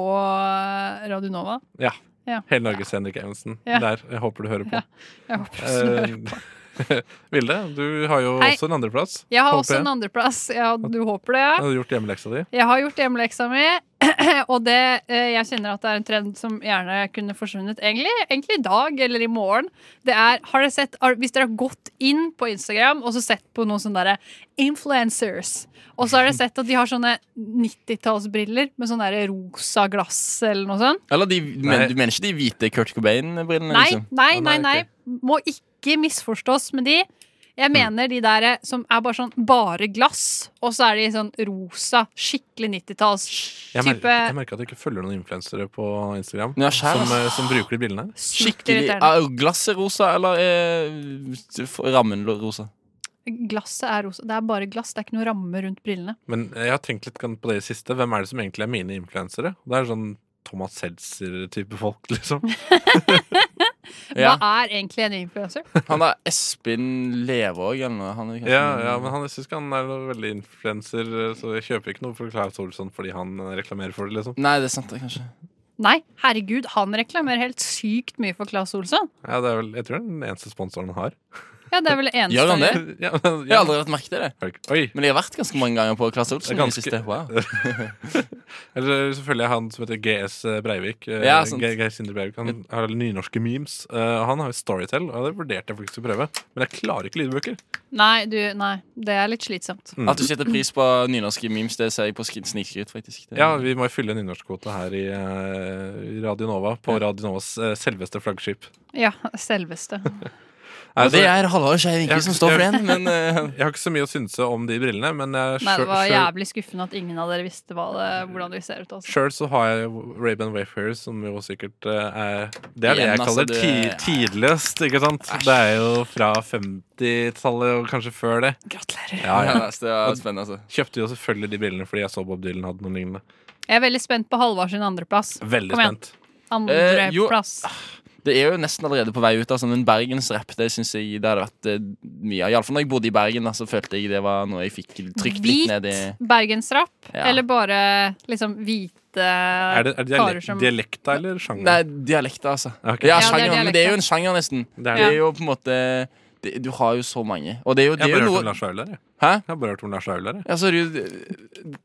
Radionova. Hele Norges Henrik Evensen. Ja. Der. Jeg håper du hører på. Ja, [laughs] Jeg håper du snur. Eh, [laughs] Vilde, du har jo Hei. også en andreplass. Jeg har håper også jeg. en andreplass. Ja, du håper det, ja. Har du gjort hjemmeleksa di? Jeg har gjort hjemmeleksa mi, [clears throat] og det, eh, jeg kjenner at det er en trend som gjerne kunne forsvunnet egentlig, egentlig i dag eller i morgen. Det er, har dere sett, har- Hvis dere har gått inn på Instagram og så sett på noen sånne derre influencers, og så har dere sett at de har sånne 90-tallsbriller med sånn derre rosa glass eller noe sånt. Eller de, men, Nei. du mener ikke de hvite Kurt Cobain-brillene? Nei, Liksom? nei, Å, nei, nei, nei. Må ikke misforstås med de. Jeg mener de der som er bare sånn bare glass, og så er de sånn rosa, skikkelig 90-talls Jeg, mer, type jeg merker at du ikke følger noen influensere på Instagram Ja, skjær, som, ass. eh, som bruker de brillene. her. Sykt Skikkelig irriterende. Er Glasset rosa, eller er rammen [laughs] rosa? Glasset er rosa. Det er bare glass, det er ikke noe ramme rundt brillene. Men jeg har tenkt litt på det i siste. Hvem er det som egentlig er mine influensere? Det er sånn Thomas Seltzer-type folk, liksom. Ja. Hva er egentlig en influencer? Han er Espen Levåg eller noe. Han er kanskje- Ja, ja, men han, jeg syns ikke han er noe veldig influenser, så jeg kjøper ikke noe for Klaus Olsson fordi han eh, reklamerer for det, liksom. Nei, det er sant, det, kanskje. Nei, herregud, han reklamerer helt sykt mye for Claes Olsson. Ja, det er vel, jeg tror det er den eneste sponsoren han har. [laughs] Ja, det er vel det eneste Gjør han det? Ja, men- Jeg har aldri lagt merke til det. Har du ikke- Oi! Men jeg har vært ganske mange ganger på Klasse Det Olsen. er i ganske- det siste. Wow. [laughs] Eller selvfølgelig han som heter GS Breivik. eh, Ja, sant. Ge- Geir Sindre Breivik Han har nynorske memes. eh, og han har jo Storytel, og det vurderte jeg faktisk å prøve. Men jeg klarer ikke lydbøker. Nei, du, nei, det er litt slitsomt. Mm. At du setter pris på nynorske memes, det ser jeg på sk- snikskryt, faktisk. Det- Ja, vi må jo fylle nynorskkvota her i eh, Radio Nova, på Radio Novas eh, selveste flaggskip. Ja, selveste. [laughs] Nei, Og det så- er Halvard Skei Vinke altså- Ja, som står for ja. den, men eh, jeg har ikke så mye å synse om de brillene, men jeg Nei, det sjøl- var sjøl- jævlig skuffende at ingen av dere visste hva det, hvordan de ser ut. Altså. sjøl så har jeg Raben Wayfarers, som jo sikkert eh, er Det er det Igjen, jeg kaller altså, ti det- tidløst, ikke sant? Det er jo fra 50-tallet og kanskje før det. Gratulerer. [laughs] Ja, ja. [laughs] ja, Det var spennende, altså. Kjøpte jo selvfølgelig de brillene fordi jeg så Bob Dylan hadde noen lignende. Jeg er veldig spent på Halvard sin andreplass. Veldig Kom igjen. spent. Eh, jo. Andreplass. Det er jo nesten allerede på vei ut, altså, men bergensrapp det synes jeg det hadde vært eh, mye av. Iallfall når jeg bodde i Bergen, da, så følte jeg det var noe jeg fikk trykt litt Hvit ned i. bergensrapp, Ja. eller bare liksom hvite Er det, er det karer dialekt, som dialekta eller sjanger? Nei, dialekter, altså. Ok. Ja, Ja, det er sjangeren, men det er jo dialekter. en sjanger, nesten. Det er Det er det. jo på en måte det, Du har jo så mange. Og det er jo, det Jeg har er jo bare hørt om noe Lars Vaular. jeg. Hæ? Jeg har bare hørt om Lars Vaular. jeg. Ja, så er det jo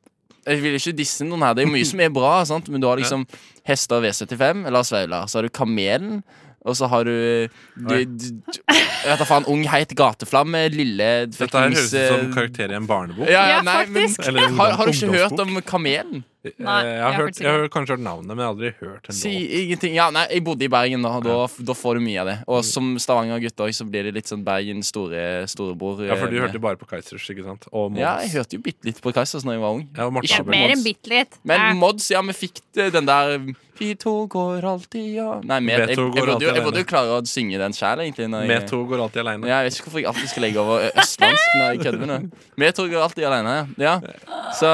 Jeg vil ikke disse noen her. Det er jo mye som er bra, sant? men du har liksom Hester V75, Lars Vaular. Så har du Kamelen. Og så har du, du, Oi. du, du Jeg vet da faen. Ung, heit gateflamme. Lille Dette her høres fuckings, ut som eh, karakter i en barnebok. ja, ja, Ja, nei, men, faktisk. Eller en har, har du ikke ungdomsbok. hørt om Kamelen? Eh, Nei, jeg, jeg har har hørt, faktisk jeg har kanskje hørt navnet, men jeg har aldri hørt en Si låt. ingenting. Ja, nei, jeg bodde i Bergen, da. Da, da får du mye av det. Mm. Og som Stavanger-gutt også, så blir det litt sånn Bergen store, storebror. Ja, for du eh, hørte jo bare på Keizers, ikke sant? Og Mons. Ja, jeg hørte jo bitte litt på Kaizers da jeg var ung. Ja, og Morten Ikke Abel. Mer Mods. enn bitte litt. Men Eh, Mods, ja, vi fikk det- den der Vi to går alltid ja Nei, med, Vi jeg, jeg, to går burde jo, jeg alltid burde jo klare å synge den sjæl, egentlig. Når Med jeg, to går alltid aleine. ja, jeg vet ikke hvorfor jeg alltid skal legge over ø- østlandsk når jeg kødder med det. Vi to går alltid alene. Ja. Så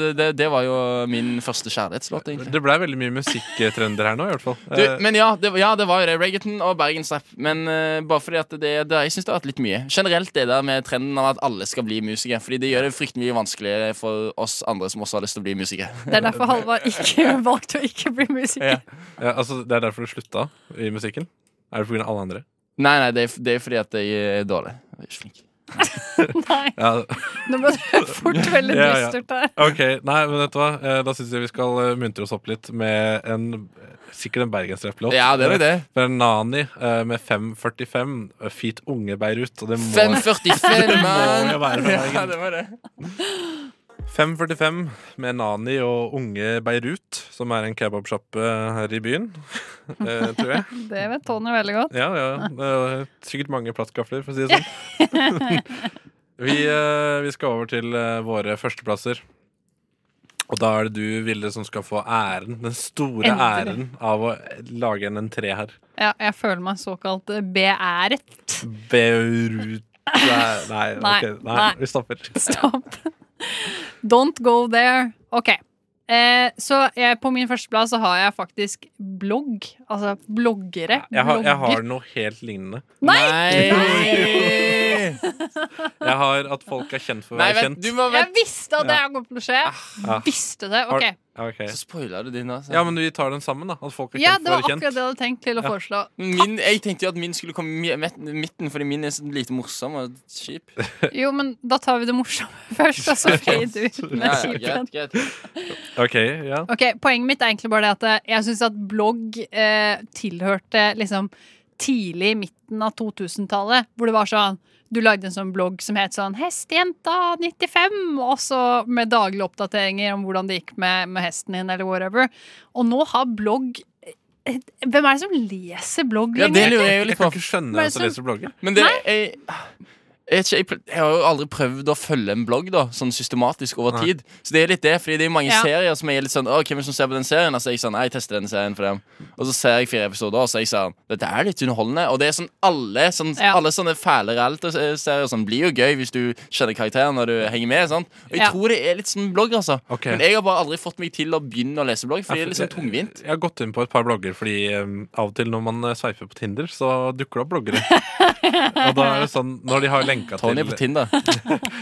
det, det, det var jo min første kjærlighetslåt, egentlig. Det blei veldig mye musikktrender her nå, i hvert fall. Du, Eh, men ja det, ja, det var jo det. Reggaeton og bergensrapp. Men eh, bare fordi at det, det jeg syns det har vært litt mye. Generelt det der med trenden av at alle skal bli musikere. Fordi det gjør det fryktelig mye vanskeligere for oss andre som også har lyst til å bli musikere. [laughs] Det er derfor Halvard [laughs] ikke valgte å ikke bli musiker. ja, altså, det er derfor du slutta i musikken? Er det pga. alle andre? Nei, nei, det er, det er fordi at jeg er dårlig. Jeg er ikke flink. Nei, Ja, nå ble [laughs] det fort veldig Ja, ja. dystert der. ok, Nei, men vet du hva? Eh, Da syns jeg vi skal eh, muntre oss opp litt med en Sikkert en bergensrapplåt. Ja, det er nok det. [laughs] For Nani eh, med 545, eh, Feat Unge Beirut. Og det må, 545, må jo mann! være [laughs] fra Ja, Bergen. det var det. 545 med Nani og Unge Beirut, som er en kebabsjappe her i byen, [laughs] eh, tror jeg. Det vet Tony veldig godt. Ja, ja. ja. Det er sikkert mange plastgafler, for å si det sånn. Vi, eh, vi skal over til eh, våre førsteplasser. Og da er det du, Vilde, som skal få æren, den store æren Endelig. av å lage en entré her. Ja, jeg føler meg såkalt eh, beæret. Beirut Nei, nei, Nei, ok, nei, nei. vi stopper. Stopp. Don't go there. OK. Eh, så jeg, på min førsteplass så har jeg faktisk blogg. Altså bloggere. Jeg har, jeg har Blogger. noe helt lignende. Nei! Nei! Jeg har at folk er kjent for å Nei, være vent, kjent. du må Jeg vent. visste at det Ja. Ah, her kom til å skje. Ja. Visste det. Har- OK. Ja, ok. Så spoila du din, altså. ja, men vi tar den sammen, da. At folk er kjent Ja, det for å være var akkurat det kjent. jeg hadde tenkt til å Ja. foreslå. min, jeg tenkte jo at min skulle komme i midt- midten, fordi min er så lite morsom og kjip. Jo, men da tar vi det morsomme [laughs] først, og så [laughs] fader du ut Ja, med ja, kjipen. greit, greit. Ok, ja. Ok, Poenget mitt er egentlig bare det at eh, jeg syns at blogg eh, tilhørte liksom tidlig i midten av 2000-tallet, hvor det var sånn Du lagde en sånn blogg som het sånn 'Hestejenta95', og så med daglige oppdateringer om hvordan det gikk med, med hesten din, eller whatever. Og nå har blogg eh, Hvem er det som leser blogg Ja, det lenger? lurer jeg jo Jeg litt kan på. ikke Hva skjønne er at det du leser blogger. Men det, jeg, jeg, vet ikke, jeg, pl- jeg har jo aldri prøvd å følge en blogg da Sånn systematisk over Nei. tid. Så det er litt det, fordi det er mange Ja. serier som jeg er litt sånn Å, hvem er det som ser på den serien? Altså, jeg er sånn, «Nei, jeg tester denne serien for dem Og så ser jeg fire episoder, og så er jeg sånn Dette er litt underholdende. Og det er sånn alle, sånn, Ja. alle sånne fæle reality-serier sånn, blir jo gøy hvis du kjenner karakteren og du henger med. Sant? Og jeg Ja. tror det er litt sånn blogg, altså. Ok. Men jeg har bare aldri fått meg til å begynne å lese blogg, fordi det er litt liksom sånn tungvint. Jeg har gått inn på et par blogger, fordi eh, av og til når man eh, sveiper på Tinder, så dukker det opp bloggere. [laughs] Og da er det sånn, når de har lenka til Tony er på Tinder.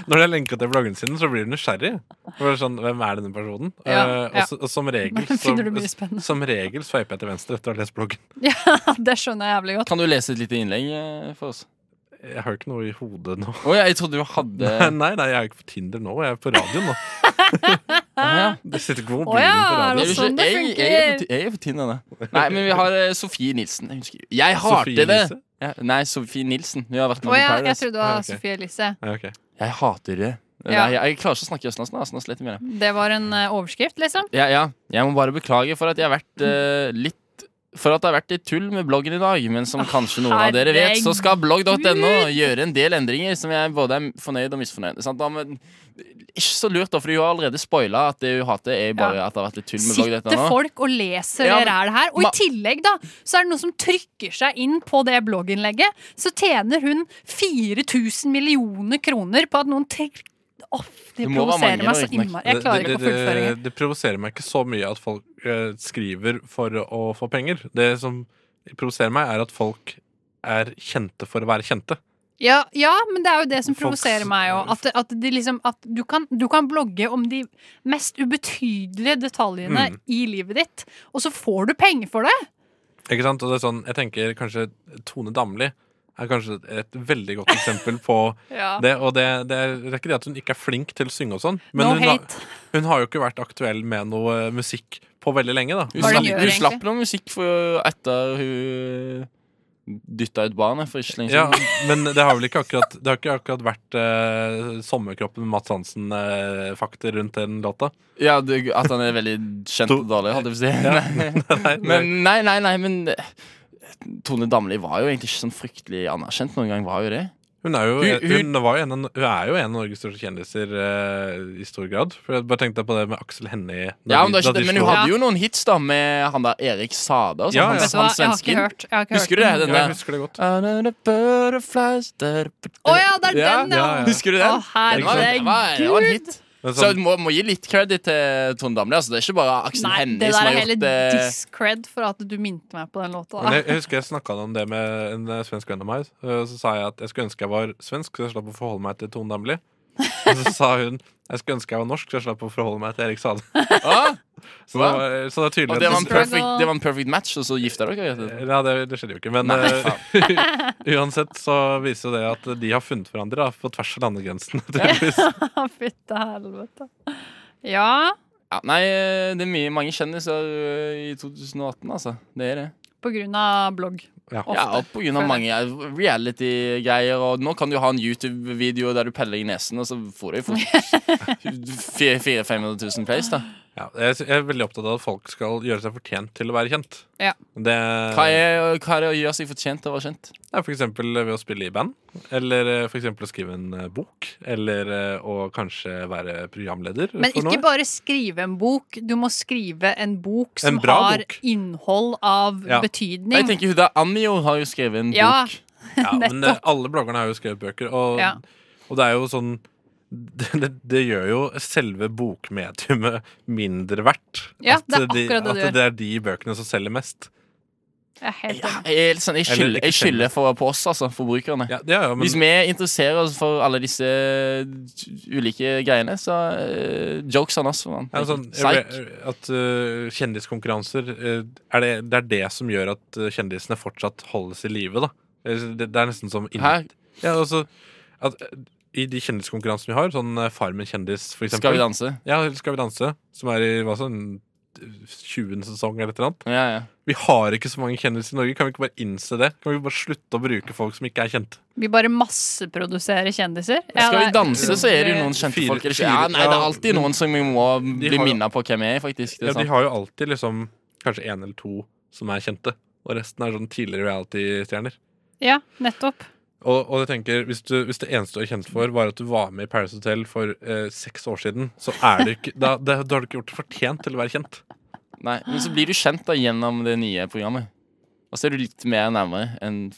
Når de har lenka til bloggene sine, så blir du nysgjerrig. For det er sånn, Hvem er denne personen? Ja, Eh, ja. Og, så, og som regel [laughs] Da finner du mye så, spennende. som regel sveiper jeg til venstre etter å ha lest bloggen. [laughs] Ja, det skjønner jeg jævlig godt. Kan du lese et lite innlegg eh, for oss? Jeg har jo ikke noe i hodet nå. Å ja, jeg trodde du hadde [laughs] Nei, nei, jeg er jo ikke på Tinder nå, jeg er på radioen nå. ja. Det sitter ikke på Å mobilen ja, på er radioen. det Jeg vil sånn det ikke- jeg- Jeg, er på ti- jeg er på Tinder, da. Nei, men vi har eh, Sofie Nilsen. Jeg husker Jeg Sofie hater det! Elise? Ja, nei, Sofie Nilsen. Hun har vært med Å ja, på jeg Paradise. trodde det var Ja, ok. Sofie Elise. Ja, ok. Jeg hater det. Ja. Nei, jeg, jeg klarer ikke å snakke østlandsk nå. Østlandsk sliter med det. Det var en eh, overskrift, liksom. Ja, ja. Jeg må bare beklage for at jeg har vært eh, litt for at det har vært litt tull med bloggen i dag, men som kanskje noen av dere vet, så skal blogg.no gjøre en del endringer som jeg både er fornøyd og misfornøyd. Sant? Da, men, ikke så lurt, da, for hun har allerede spoila at det hun hater, er bare at det har vært litt tull med Sitter blogg.no. folk og leser Ja, ja, men- er det her? Og Ma- i tillegg da, så er det noen som trykker seg inn på det blogginnlegget. Så tjener hun 4000 millioner kroner på at noen trykker Åh, Det Det må være mange, provoserer meg da, så riktignok. innmari. Jeg klarer ikke det, å det, fullføre. det, det provoserer meg ikke så mye at folk eh, skriver for å få penger. Det som provoserer meg, er at folk er kjente for å være kjente. Ja, ja, men det er jo det som Folk- provoserer meg òg. At, at, de liksom, at du, kan, du kan blogge om de mest ubetydelige detaljene Mm. i livet ditt, og så får du penger for det! Ikke sant? Og det er sånn, jeg tenker kanskje Tone Damli er kanskje et veldig godt eksempel på [laughs] det. Og det, det er det er ikke det at hun ikke er flink til å synge og sånn, men No hun, har- hate. hun har jo ikke vært aktuell med noe eh, musikk på veldig lenge, da. Hun Hva er slapp, det hun hun gjør, egentlig? slapp noe musikk for, etter hun dytta ut barnet for ikke lenge Ja, siden. men det har vel ikke akkurat, det har ikke akkurat vært eh, sommerkroppen med Mads Hansen-fakter rundt den låta. Ja. det, at han er veldig kjent To- og dårlig, holdt jeg på å si. Nei, [laughs] Men nei, nei, nei, men eh, Tone Damli var jo egentlig ikke sånn fryktelig anerkjent noen gang. var jo det Hun er jo, Hun- hun- hun, var jo en, av- hun er jo en av Norges største kjendiser eh, i stor grad. For jeg bare tenkte på det med Aksel Hennie. ja, Men, da de- det er da ikke, de det, men hun slo- hadde jo noen hits da med han der Erik Sade. Altså, Ja, han, ja. Vet du han hva, jeg har ikke svensken. hørt. Jeg har ikke Husker du hørt det? den. Den ja, jeg der husker det godt. Under the butterflies der- Å ja, det er Ja, den, ja! ja, ja. Husker du den? Å, Den var- den var- den var en hit. Men Så sånn, du må, må gi litt credit til Tone Damli. Altså, det er ikke bare Aksel Nei, Hennie det som har der er gjort eh, det. hele discred for at du minte meg på den låta. sånn- men [laughs] jeg, jeg husker jeg snakka om det med en eh, svensk venn av meg. eh, Så sa jeg at jeg skulle ønske jeg var svensk, så jeg slapp å forholde meg til Tone Damli. Og så sa hun jeg skulle ønske jeg var norsk, så jeg slapp å forholde meg til Erik Sade. [laughs] Ah, Så det, var, så det er og tydelig det var, en at Struggle. perfect, det var en perfect match, og så gifta dere dere? ja, det, det skjedde jo ikke, men Nei, eh, uansett så viser jo det at de har funnet hverandre da, på tvers av landegrensene. [laughs] tydeligvis. Fytte helvete. Ja, Ja, nei, eh, det er mye, mange kjendiser eh, i 2018, altså. Det er det. på grunn av blogg. Ja. Ofte. Ja, og på grunn av mange eh, reality-greier. Og nå kan du ha en [laughs] YouTube-video der du peller i nesen, og så får du jo fort 400 000-500 000 plays, da. Ja, jeg, sy- jeg er veldig opptatt av at folk skal gjøre seg fortjent til å være kjent. Ja. Det, Hva er, hva er det å gjøre seg fortjent til å være kjent? Ja, for eksempel ved å spille i band, eller eh, for eksempel å skrive en eh, bok, eller eh, å kanskje være programleder Men for ikke noe. bare skrive en bok. Du må skrive en bok som En bra har bok. innhold av Ja. betydning. Jeg tenker Huda Anjo har jo skrevet en Ja. bok. Ja, men eh, alle bloggerne har jo skrevet bøker, og, Ja. og det er jo sånn [laughs] det, det, det gjør jo selve bokmediumet mindre verdt. Ja, det er at, de, akkurat det at det gjør. det er de bøkene som selger mest. Jeg er helt Ja, enig. jeg, er litt sånn, jeg Eller skylder ikke jeg skylder for på oss, altså. Forbrukerne. Ja, det er jo, men, Hvis vi interesserer oss for alle disse eh, ulike greiene, så eh, jokes on oss. Man. Ja, sånn, Psych. at øh, Kjendiskonkurranser øh, er det, det er det som gjør at øh, kjendisene fortsatt holdes i live. da Altså, Det, det er nesten som inn- Her ja, altså, at, øh, I de kjendiskonkurransene vi har, sånn øh, Farmen kjendis for eksempel, skal vi danse. Ja, eller skal vi danse, som er i hva sånn 20. sesong eller et eller annet. Ja, ja. Vi har ikke så mange kjendiser i Norge. Kan vi ikke bare innse det? Kan vi bare slutte å bruke folk som ikke er kjent? Vi bare masseproduserer kjendiser. Ja, Skal vi det er danse, så er det jo noen kjente Fire- folk. Eller ikke. fire- Ja, nei, det er ja, alltid noen som vi må bli har jo- minnet på hvem er, faktisk. Det Ja, er de sant. har jo alltid liksom kanskje én eller to som er kjente, og resten er sånn tidligere reality-stjerner. Ja, nettopp. Og, og jeg tenker, hvis, du, hvis det eneste du er kjent for, var at du var med i Paris Hotel for eh, seks år siden, så er du ikke, da, da, da har du ikke gjort det fortjent til å være kjent. Nei, men så blir du kjent da gjennom det nye programmet. Og så er du litt mer nærmere enn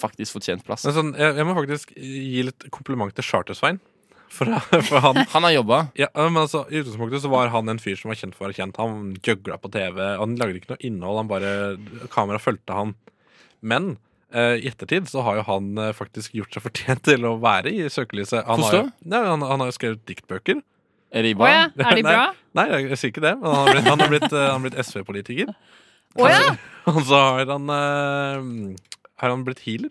faktisk fortjent plass. Men sånn, jeg, jeg må faktisk gi litt kompliment til Charter-Svein. For, [laughs] for han Han har jobba. ja, men altså, I utgangspunktet så var han en fyr som var kjent for å være kjent. Han gjøgla på TV, han lagde ikke noe innhold, han bare kameraet fulgte han. Men eh, i ettertid så har jo han eh, faktisk gjort seg fortjent til å være i søkelyset. Han, har jo- Forstå. ja, han, han har jo skrevet diktbøker. Er de Å bra? ja, [laughs] er de Nei. bra? Nei, jeg, jeg sier ikke det. Men han har blitt, han har blitt, eh, han har blitt SV-politiker. Å ja! Og så har han eh, Har han blitt healer?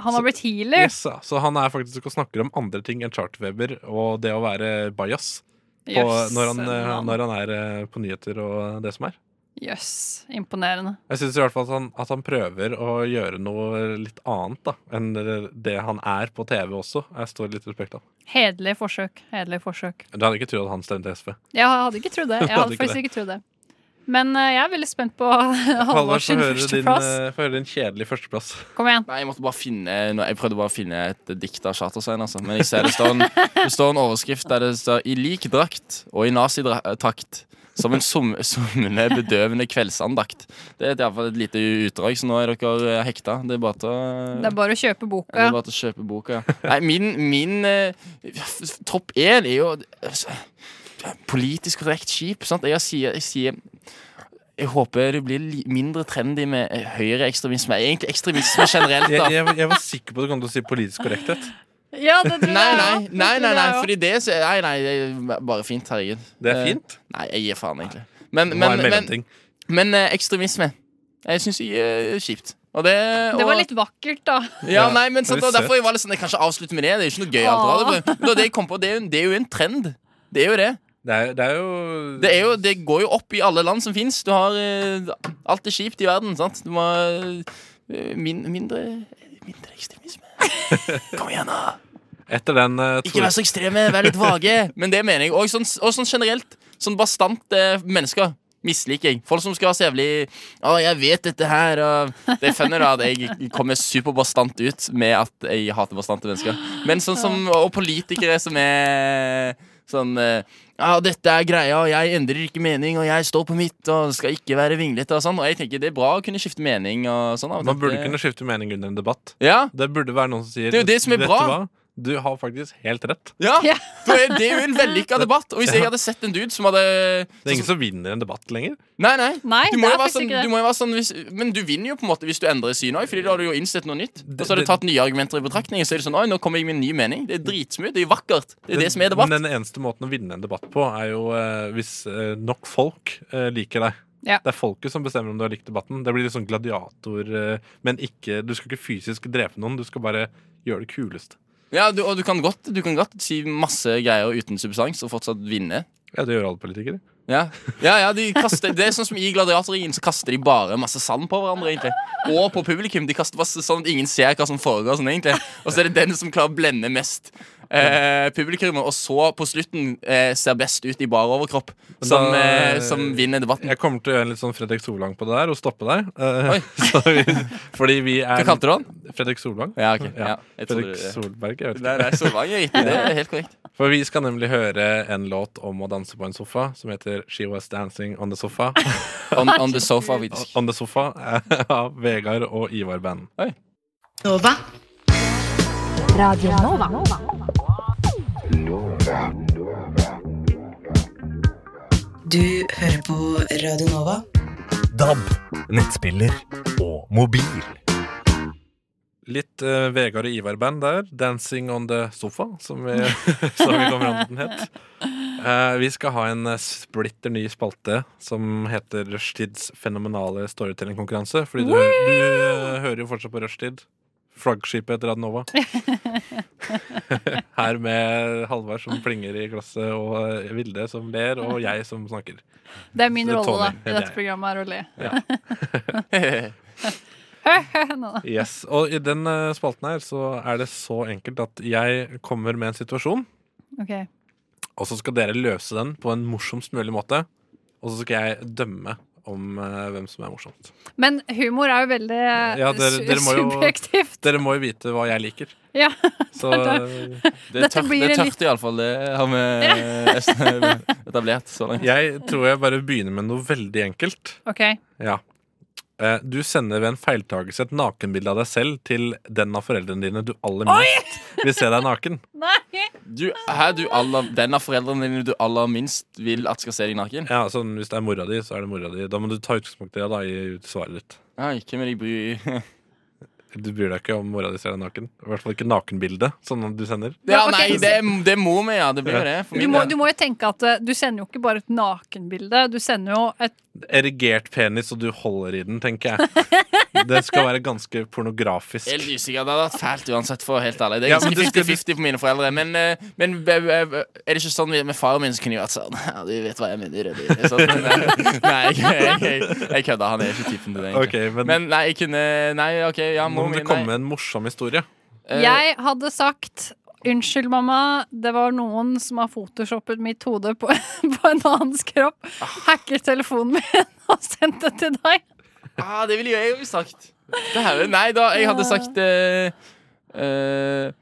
Han har blitt healer. Yes, ja. så han er faktisk og snakker om andre ting enn chartweber og det å være bajas på, Jøss, når, han, eh, mann. når han er eh, på nyheter og det som er. Jøss, imponerende. Jeg syns i hvert fall at han, at han prøver å gjøre noe litt annet da enn det han er på TV også. Jeg står litt respekt av. Hederlig forsøk. Hederlig forsøk. Du hadde ikke trodd at han stemte SV. Jeg hadde ikke [laughs] trodd det. Jeg Hadde hadde ikke faktisk ikke trodd det. Men eh, jeg er veldig spent på [laughs] Halvard, Halvors få sin høre din, førsteplass. eh, få høre din kjedelige førsteplass. Kom igjen. Nei, jeg måtte bare finne nå- Jeg prøvde bare å finne et dikt av Chartersveien, altså. Men jeg ser det står en, det står en overskrift der det står I lik drakt og i nazitakt. Som en sum- summende, bedøvende kveldsandakt. Det er iallfall et lite utdrag, så nå er dere eh, hekta. Det er bare til Det å er bare å Ja, kjøpe Det boka. er bare til å kjøpe boka. ja. Nei, min, min eh, f- topp én er jo eh, politisk korrekt skip. Sant? Jeg sier, jeg sier jeg håper det blir li- mindre trendy med eh, høyreekstremisme. Egentlig ekstremisme [laughs] [laughs] generelt. Jeg, da jeg, jeg var sikker på at du kom til å si politisk korrekthet. Ja, det tror jeg Nei, nei, også. Det nei, nei, tror nei jeg også. fordi det så, Nei, nei, det er bare fint, herregud. Det er Eh, fint. Nei, jeg gir faen, egentlig. Men, Det var men, en men, mellomting. men, eh, ekstremisme. Jeg syns det er eh, kjipt. Og det, Det var og- litt vakkert, da. Ja, Ja, nei, men sant, det er og derfor jeg var litt sånn Jeg kan ikke avslutte med det. Det er jo ikke noe gøy. alt det der. Men Det, var det, jeg kom på, det, er jo, det er jo en trend. Det er jo det. Det er, det er jo Det, er jo, det går jo opp i alle land som fins. Du har eh, Alt er kjipt i verden, sant? Du må eh, min, mindre Mindre [laughs] ekstremisme. Kom igjen, da. Etter den eh, Ikke Tore- vær så ekstreme. Vær litt vage. [laughs] Men det mener jeg. Og sånn, og sånn generelt. Sånn bastant eh, mennesker. Misliker jeg. Folk som skal være så jævlig Å, jeg vet dette her. Og det er funny da at jeg kommer superbastant ut med at jeg hater bastante mennesker. Men sånn som Og politikere som er sånn eh, Ja, dette er greia, og jeg endrer ikke mening, og jeg står på mitt, og skal ikke være vinglete og sånn. Og jeg tenker det er bra å kunne skifte mening og sånn. av og til. Man burde kunne skifte mening under en debatt. Ja, Det burde være noen som sier Det er jo det som er «Vet bra!» du hva? Du har faktisk helt rett. ja. Ja. [laughs] For jeg- Det er jo en vellykka debatt. Og hvis jeg hadde sett en dude som hadde Det er ingen som vinner en debatt lenger. Nei, nei. Nei, du må jo det er være faktisk sånn, ikke det. du må jo være sånn hvis, Men du vinner jo på en måte hvis du endrer syn òg, Fordi da har du jo innsett noe nytt. Og Det- så har du det- tatt nye argumenter i betraktning. Så er det sånn, oi, nå kommer jeg med en ny mening Det er dritsmooth. Det er vakkert. Det er det som er debatt. Men den eneste måten å vinne en debatt på, er jo eh, hvis eh, nok folk eh, liker deg. Ja. Det er folket som bestemmer om du har likt debatten. Det blir litt sånn gladiator, eh, men ikke, du skal ikke fysisk drepe noen. Du skal bare gjøre det kuleste. Ja, du, Og du kan, godt, du kan godt si masse greier uten substans og fortsatt vinne. Ja, det gjør alle politikere. Ja, ja, ja de kaster, Det er sånn som i gladiatorringen, så kaster de bare masse sand på hverandre. egentlig Og på publikum. De kaster masse sånn at ingen ser hva som foregår. sånn egentlig Og så er det den som klarer å blende mest. eh, publikum, og så på slutten eh, ser best ut i bar overkropp, som, Da- eh, som vinner debatten. Jeg kommer til å gjøre en litt sånn Fredrik Solvang på det der og stoppe deg. Eh, Oi. [laughs] så vi- fordi vi er Hva kalte du han? Fredrik Solvang? Ja, ok. Ja. Ja. Jeg trodde Fredrik du- Solberg, jeg vet ikke. Nei, nei, Solvang er riktig. Det er helt korrekt. For vi skal nemlig høre en låt om å danse på en sofa som heter She Was Dancing On The Sofa. On, on the sofa. vi- on the sofa eh, [laughs] av Vegard og Ivar Band. Nova. Du hører på Radio Nova. DAB, nettspiller og mobil. Litt eh, Vegard og Ivar-band der. 'Dancing on the sofa', som vi, [laughs] som vi kom fram til den het. Eh, vi skal ha en eh, splitter ny spalte som heter Rushtids fenomenale storytellingkonkurranse. Fordi du, hø- du eh, hører jo fortsatt på Rushtid. Flaggskipet etter Adnova. Her med Halvard som plinger i glasset, og eh, Vilde som ler, og jeg som snakker. Det er min Det er rolle da, Tony, i det er dette jeg. programmet er å le. [laughs] Hva Nå da. Yes, Og i den eh, spalten her så er det så enkelt at jeg kommer med en situasjon, Ok. og så skal dere løse den på en morsomst mulig måte. Og så skal jeg dømme om eh, hvem som er morsomst. Men humor er jo veldig eh, Ja, dere- su- dere må jo- subjektivt. Dere må jo vite hva jeg liker. Ja. [laughs] Så Det er Dette tørt, blir det er en tørt iallfall. Det har vi [laughs] etablert så langt. jeg tror jeg bare begynner med noe veldig enkelt. Ok. Ja. Eh, Du sender ved en feiltagelse et nakenbilde av deg selv til den av foreldrene dine du aller minst vil se deg naken. Nei! Du, her, du aller, den av foreldrene dine du aller minst vil at skal se deg naken? Ja, sånn, Hvis det er mora di, så er det mora di. Da må du ta utgangspunkt i det da, i svaret ditt. Nei, hvem er de [laughs] bry Du bryr deg ikke om mora di ser deg naken. I hvert fall ikke nakenbildet. Sånn du sender Ja, ok. nei, det, er- det er mor mi, ja. Det blir jo det. For Du min må, del. du må jo tenke at eh, du sender jo ikke bare et nakenbilde. Du sender jo et Erigert penis, og du holder i den, tenker jeg. Det skal være ganske Helt pornografisk. usikker. Det hadde vært fælt uansett, for å være helt ærlig. Det er Ja, men ganske du 50-50 skulle- på mine foreldre. Men, eh, men eh, eh, er det ikke sånn med faren min, så kunne jeg vært sånn [laughs] Ja, du vet hva jeg mener. Det er sånn, men, eh, [laughs] nei, jeg, jeg, jeg kødda. Han er ikke typen til det. egentlig. Ok, men, Men nei, jeg kunne Nei, OK, ja, nå mor må mi. du komme med en morsom historie. Eh, Jeg hadde sagt Unnskyld, mamma. Det var noen som har photoshoppet mitt hode på, [laughs] på en annens kropp. Hacket telefonen min [laughs] og sendt det til deg. Ah, det ville jo jeg òg sagt. Det her, nei da, jeg Ah. hadde sagt eh, eh,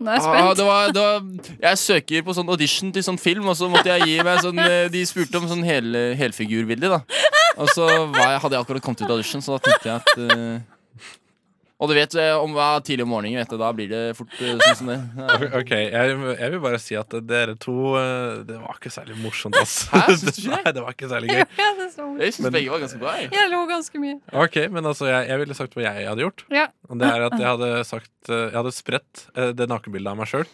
Nå er jeg ah, [laughs] spent. det var, det var, jeg søker på sånn audition til sånn film, og så måtte jeg gi meg sånn eh, De spurte om sånn hel, helfigurbilde, da. Og så var jeg, hadde jeg akkurat kommet ut av audition, så da tenkte jeg at eh, Og du vet eh, om hva tidlig om morgenen, vet du, da blir det fort eh, sånn som det. Ja. Ok, jeg, jeg vil bare si at dere to eh, Det var ikke særlig morsomt, ass. Hæ, synes du ikke det? [laughs] Nei, det var ikke særlig gøy. Ja, det er så morsomt. Jeg syns begge var ganske bra. Jeg. Jeg lo ganske mye. Ok, men altså, jeg, jeg ville sagt hva jeg hadde gjort. Ja. Og det er at jeg hadde sagt eh, Jeg hadde spredt eh, det nakenbildet av meg sjøl.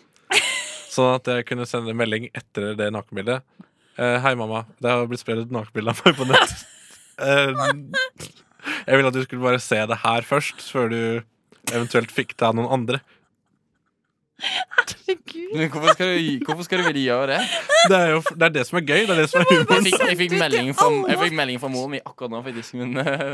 Sånn at jeg kunne sende en melding etter det nakenbildet. Eh, Hei, mamma. Det har blitt spredt et nakenbilde av meg på nett. Eh, Jeg ville at du skulle bare se det her først, før du eventuelt fikk det av noen andre. [laughs] Herregud. Men hvorfor skal, du, hvorfor skal du ville gjøre det? Det er jo f- det, er det som er gøy. Det er det som er humoren. Jeg fikk, jeg fikk Sendte melding til fra, alle. jeg fikk melding fra moren min akkurat nå, faktisk. Men eh,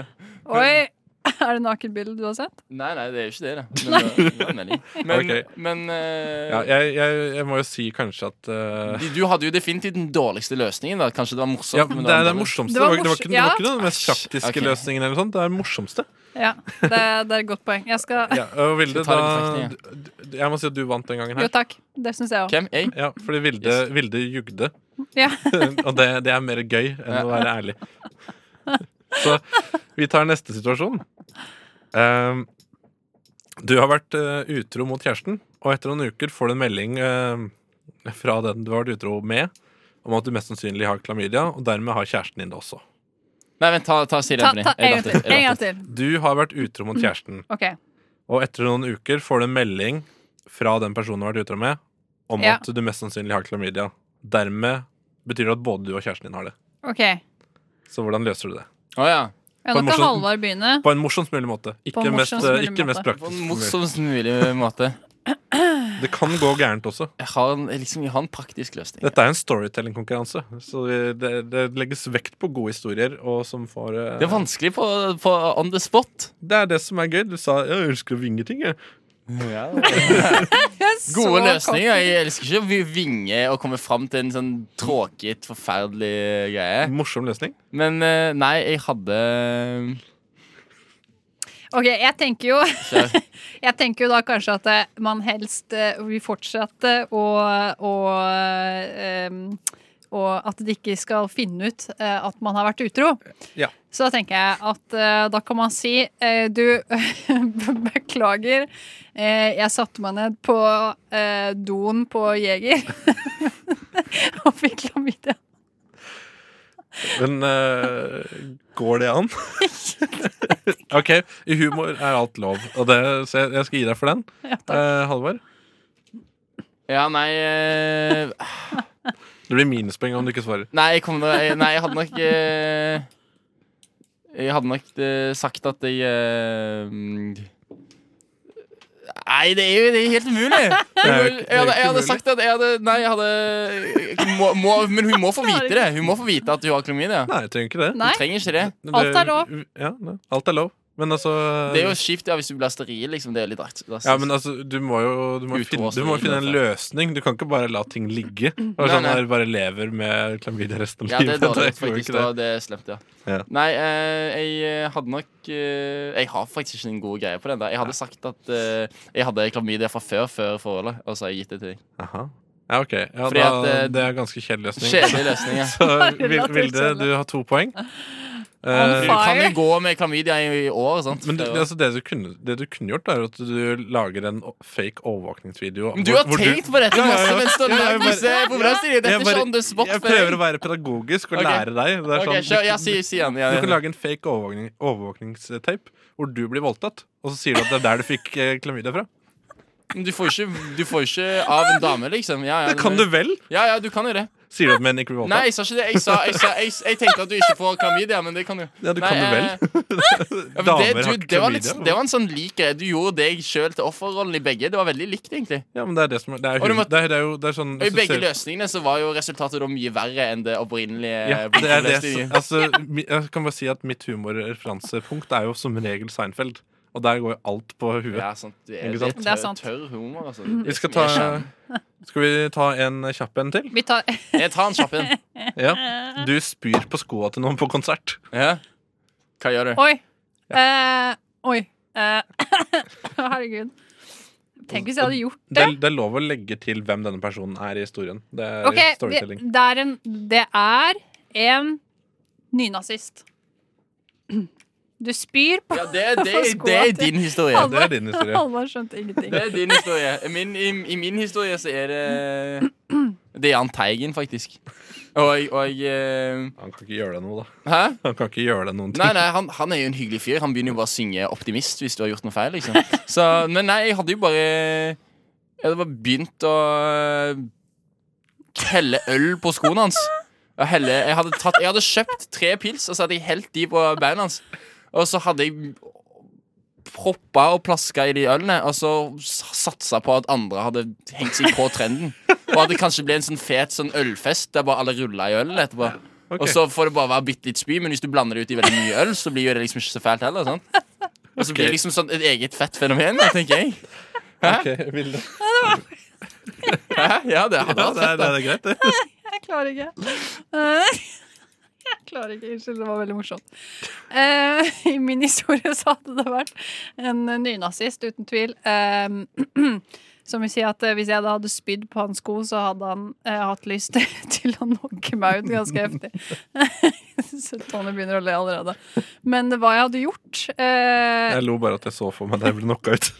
Oi. [laughs] Er det nakenbildet du har sett? Nei, nei, det er jo ikke det, da. [laughs] Men, eh, det var en melding. men, Ok. men eh, Ja, jeg, jeg, jeg må jo si kanskje at eh, du, du hadde jo definitivt den dårligste løsningen. da Kanskje det var morsomt. ja, men det var er den dårlig. morsomste. Det Det var var, ikke- det var morsom- ikke, det ja. var ikke den mest praktiske Ok. løsningen. eller noe sånt Det er den morsomste. Ja, det, det er et godt poeng. Jeg skal Ja, og Vilde, Skal ta det da, i d- d- jeg må si at du vant den gangen Jo, her. takk. Det syns jeg òg. Hvem? Jeg? Ja, fordi Vilde, Yes. Vilde jugde. [laughs] Ja. og det, det er mer gøy enn Ja. å være ærlig. Så vi tar neste situasjon. Ehm, du har vært eh, utro mot kjæresten, og etter noen uker får du en melding eh, fra den du har vært utro med, om at du mest sannsynlig har klamydia, og dermed har kjæresten din det også. Nei, vent, ta, ta si det Ta, på ny. ta Jeg en gang datt til. ut, jeg En gang datt ut. til. Du har vært utro mot kjæresten, OK. og etter noen uker får du en melding fra den personen du har vært utro med, om Ja. at du mest sannsynlig har klamydia. Dermed betyr det at både du og kjæresten din har det. ok ja, Så hvordan løser du det? Å ja. På en Nå kan morsom- Halvard begynne. På en morsomst mulig måte. Ikke, en mest, morsomst mulig ikke mest måte. praktisk. På en mulig. morsomst mulig måte. Det kan gå gærent også. Jeg har en, jeg liksom, jeg har en praktisk løsning. Dette er en storytelling-konkurranse. Så det, det- det legges vekt på gode historier. Og som får, eh, Det er vanskelig på, på on the spot. det er det som er gøy. Du sa 'jeg ønsker å vinge ting', jeg. Gode [laughs] Så løsninger. Jeg elsker ikke å vi- vinge og komme fram til en sånn tråkig, forferdelig greie. Morsom løsning. Men eh, nei, jeg hadde Ok, jeg tenker jo Kjør. [laughs] Jeg tenker jo da kanskje at eh, man helst eh, vil fortsette å og, og at de ikke skal finne ut eh, at man har vært utro. Ja. Så da tenker jeg at eh, da kan man si eh, Du, [laughs] beklager. eh, Jeg satte meg ned på eh, doen på Jeger [laughs] og fikk klamydia. Men eh, går det an? [laughs] OK, i humor er alt lov, og det, så jeg, jeg skal gi deg for den. Eh, Halvor, Ja, nei eh, det blir minuspoeng om du ikke svarer. Nei, jeg, kom, nå- jeg, nei, jeg hadde nok eh, Jeg hadde nok eh, sagt at jeg eh, mm, Nei, det er jo det er helt umulig! Jeg, jo ikke- det er jo hadde, jeg ikke hadde umulig. sagt at jeg hadde Nei, jeg hadde må, må, Men hun må få vite det. Hun må få vite at hun har klamydia. Nei, jeg trenger ikke det. Nei. Hun trenger ikke det. Det- alt er lov. Ja, nei, alt er lov. Men altså Det er jo kjipt ja, hvis du blir steril. Liksom. Det er litt rart. ja, men altså, du må jo du må Utro- finne, du må finne en løsning. Du kan ikke bare la ting ligge. Og Nei, sånn nei. der bare lever med klamydia resten av Ja, [laughs] det er livet. dårlig, går jo faktisk. ikke Da, det er slemt, ja. Ja. Nei, eh, jeg eh, hadde nok eh, Jeg har faktisk ikke en god greie på den. der Jeg hadde sagt at eh, jeg hadde klamydia fra før før forholdet, og så har jeg gitt det til deg. Aha. Ja, ok. Ja, Fordi da, at, eh, det er ganske kjedelig løsning. [laughs] Kjedelig løsning. Ja. Så Vil- Relativt Vilde, kjedelig. du har to poeng. Du Eh, fire. kan jo gå med klamydia i, i år. Sant? men du, Før- altså, det, du kunne, det du kunne gjort, er at du lager en o- fake overvåkningsvideo. Men du har hvor- hvor du- tenkt på dette Ja, ja, ja. masse mens du har Ja, ja, lagd jeg disse problemstillingene. Dette Jeg er sånn bare- ikke on the spot. Jeg prøver å være pedagogisk og Ok. lære deg. Det er Ok, sånn, kjør, du- ja, si, si igjen. Du Ja, kan lage en fake overvåkning, overvåkningstape hvor du blir voldtatt, og så sier du at det er der du fikk eh, klamydia fra. Men Du, får ikke, du får ikke av en dame, liksom. Ja, ja, Det kan du vel! Ja, ja, du kan jo det. Sier du at menn ikke blir Nei, voldtatt? jeg sa ikke det. Jeg, sa, jeg, sa, jeg, jeg tenkte at du ikke får klamydia, men det kan jo Ja, du Nei, kan jo vel. eh, Ja, men det, Damer har du, ikke det, var litt, klamydia. det var en sånn lik greie. Du gjorde deg sjøl til offerrollen i begge. Det var veldig likt, egentlig. Ja, men det er det som er Det er, Og du hum- må- det er, det er jo det er Og sånn I hvis du begge ser- løsningene så var jo resultatet da mye verre enn det opprinnelige. ja, det er det, som- løsningen. altså, mi- Jeg kan bare si at mitt humorreferansepunkt er jo som regel Seinfeld. Og der går jo alt på huet. Ja, sant. Det er, Ikke det sant? er, Det er tørr, sant. Mm. tørr humor, altså. Vi skal ta Skal vi ta en kjapp en til? Vi tar Jeg tar en kjapp en. Ja. Du spyr på skoa til noen på konsert. Ja. Hva gjør du? Oi. Eh, oi. [laughs] Eh, herregud. Tenk hvis jeg hadde gjort Det, det. er- det er lov å legge til hvem denne personen er i historien. Det er Ok, det, storytelling. det er en Det er en nynazist. Du spyr på Ja, det, det, [laughs] For det, skoa er til- din historie. det er din [laughs] historie. Halvard skjønte ingenting. Det er din historie. Min, i, I min historie så er det Det er Jahn Teigen, faktisk. Og, og eh, Han kan ikke gjøre deg noe, da. Hæ? Han kan ikke gjøre deg noen ting. Nei, nei, han, han er jo en hyggelig fyr. Han begynner jo bare å synge 'Optimist' hvis du har gjort noe feil. liksom Så, Men nei, jeg hadde jo bare Jeg hadde bare begynt å eh, helle øl på skoene hans. Og helle, jeg, hadde tatt, jeg hadde kjøpt tre pils, og så hadde jeg helt de på beina hans. Og så hadde jeg proppa og plaska i de ølene, og så s- satsa på at andre hadde hengt seg på trenden. Og at det kanskje ble en sånn fet sånn ølfest der bare alle rulla i ølen etterpå. Ok. Og så får det bare være bitte litt spy, men hvis du blander det ut i veldig mye øl, så blir jo det liksom ikke så fælt heller. sant? Og så blir det liksom sånn et eget fett fenomen, da, tenker jeg. [laughs] Ok, Vilde. Hæ? Ja, det hadde Ja, vært det, fett. er, det da. er greit, det. Jeg klarer ikke. Eh, Jeg klarer ikke. Unnskyld, det var veldig morsomt. Eh, [laughs] I min historie så hadde det vært en nynazist, uten tvil. eh, [clears throat] som vil si at eh, Hvis jeg da hadde spydd på hans sko, så hadde han eh, hatt lyst [laughs] til å knocke meg ut ganske heftig. [laughs] så Tony begynner å le allerede. Men hva jeg hadde gjort eh, [laughs] Jeg lo bare at jeg så for meg deg bli knocka ut.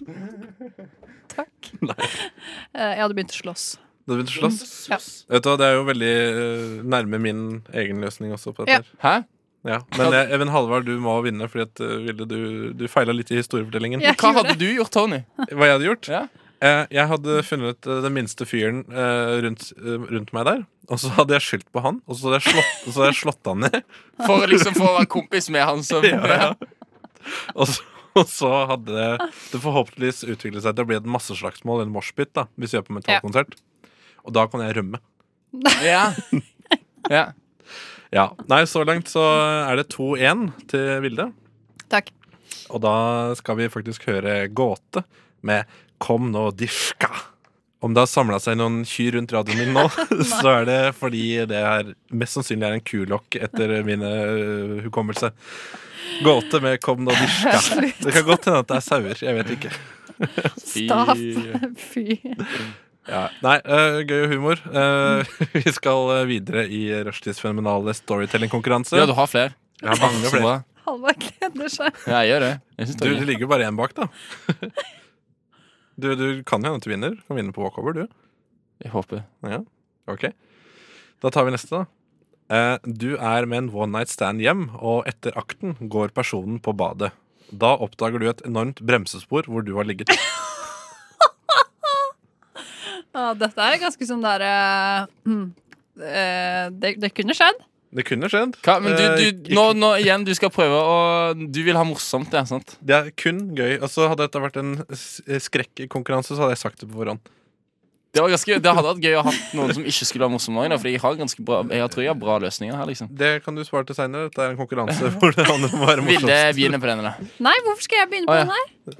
Takk. Eh, jeg hadde begynt å slåss. Du begynte å slåss. Ja. Vet du hva, Det er jo veldig eh, nærme min egen løsning også. på dette Ja. her. Hæ? Ja. Men jeg, Even Halvard, du må vinne, fordi at eh, Vilde, du, du feila litt i historiefortellingen. Ja. Jeg Hva gjorde hadde du gjort, Tony? Hva jeg hadde gjort? Ja. Eh, Jeg hadde funnet eh, den minste fyren eh, rundt, eh, rundt meg der, og så hadde jeg skyldt på han, og så hadde jeg slått, og så hadde jeg slått han ned. For å liksom få være kompis med han som [laughs] Ja, Og så, og så hadde det, det forhåpentligvis utviklet seg til å bli et masseslagsmål, en moshpit, da, hvis vi er på metallkonsert. Og da kan jeg rømme. Ja. ja. Ja. Nei, så langt så er det 2-1 til Vilde. Takk. Og da skal vi faktisk høre gåte med Kom nå, dyrka! Om det har samla seg noen kyr rundt radioen min nå, [laughs] så er det fordi det er mest sannsynlig er en kulokk etter min øh, hukommelse. Gåte med 'kom nå, dyrka'. Det kan godt hende at det er sauer. Jeg vet ikke. Staff. [laughs] Fy. Fy. Ja. Nei, øh, gøy og humor. Øh, [laughs] vi skal øh, videre i Rushtids fenomenale storytellingkonkurranse. Ja, du har flere. Jeg har mange Så flere. bra. Halvard gleder seg. Ja, jeg gjør det. Jeg synes Du, det det er gøy. ligger jo bare én bak, da. [laughs] Du, du kan jo hende at du vinner. Du kan vinne på walkover, du. Jeg håper. Ok. Da tar vi neste, da. Eh, Du er med en one night stand hjem, og etter akten går personen på badet. Da oppdager du et enormt bremsespor hvor du har ligget. Ja, dette er ganske sånn der eh, mm, eh, det, det kunne skjedd. Det kunne skjedd. Hva? Men du, Eh, du, ikke- nå, nå igjen, du skal prøve å Du vil ha morsomt, ja, sant? Det er kun gøy. Altså, hadde dette vært en s- skrekkonkurranse, så hadde jeg sagt det på forhånd. Det, var ganske, det hadde vært gøy å ha noen som ikke skulle være morsomme òg, for jeg har ganske bra Jeg tror jeg har bra løsninger her, liksom. Det kan du svare til seinere. Dette er [laughs] en konkurranse hvor det handler om å være Vilde morsomst. begynner på denne, Nei, hvorfor skal jeg begynne på Å, ja. den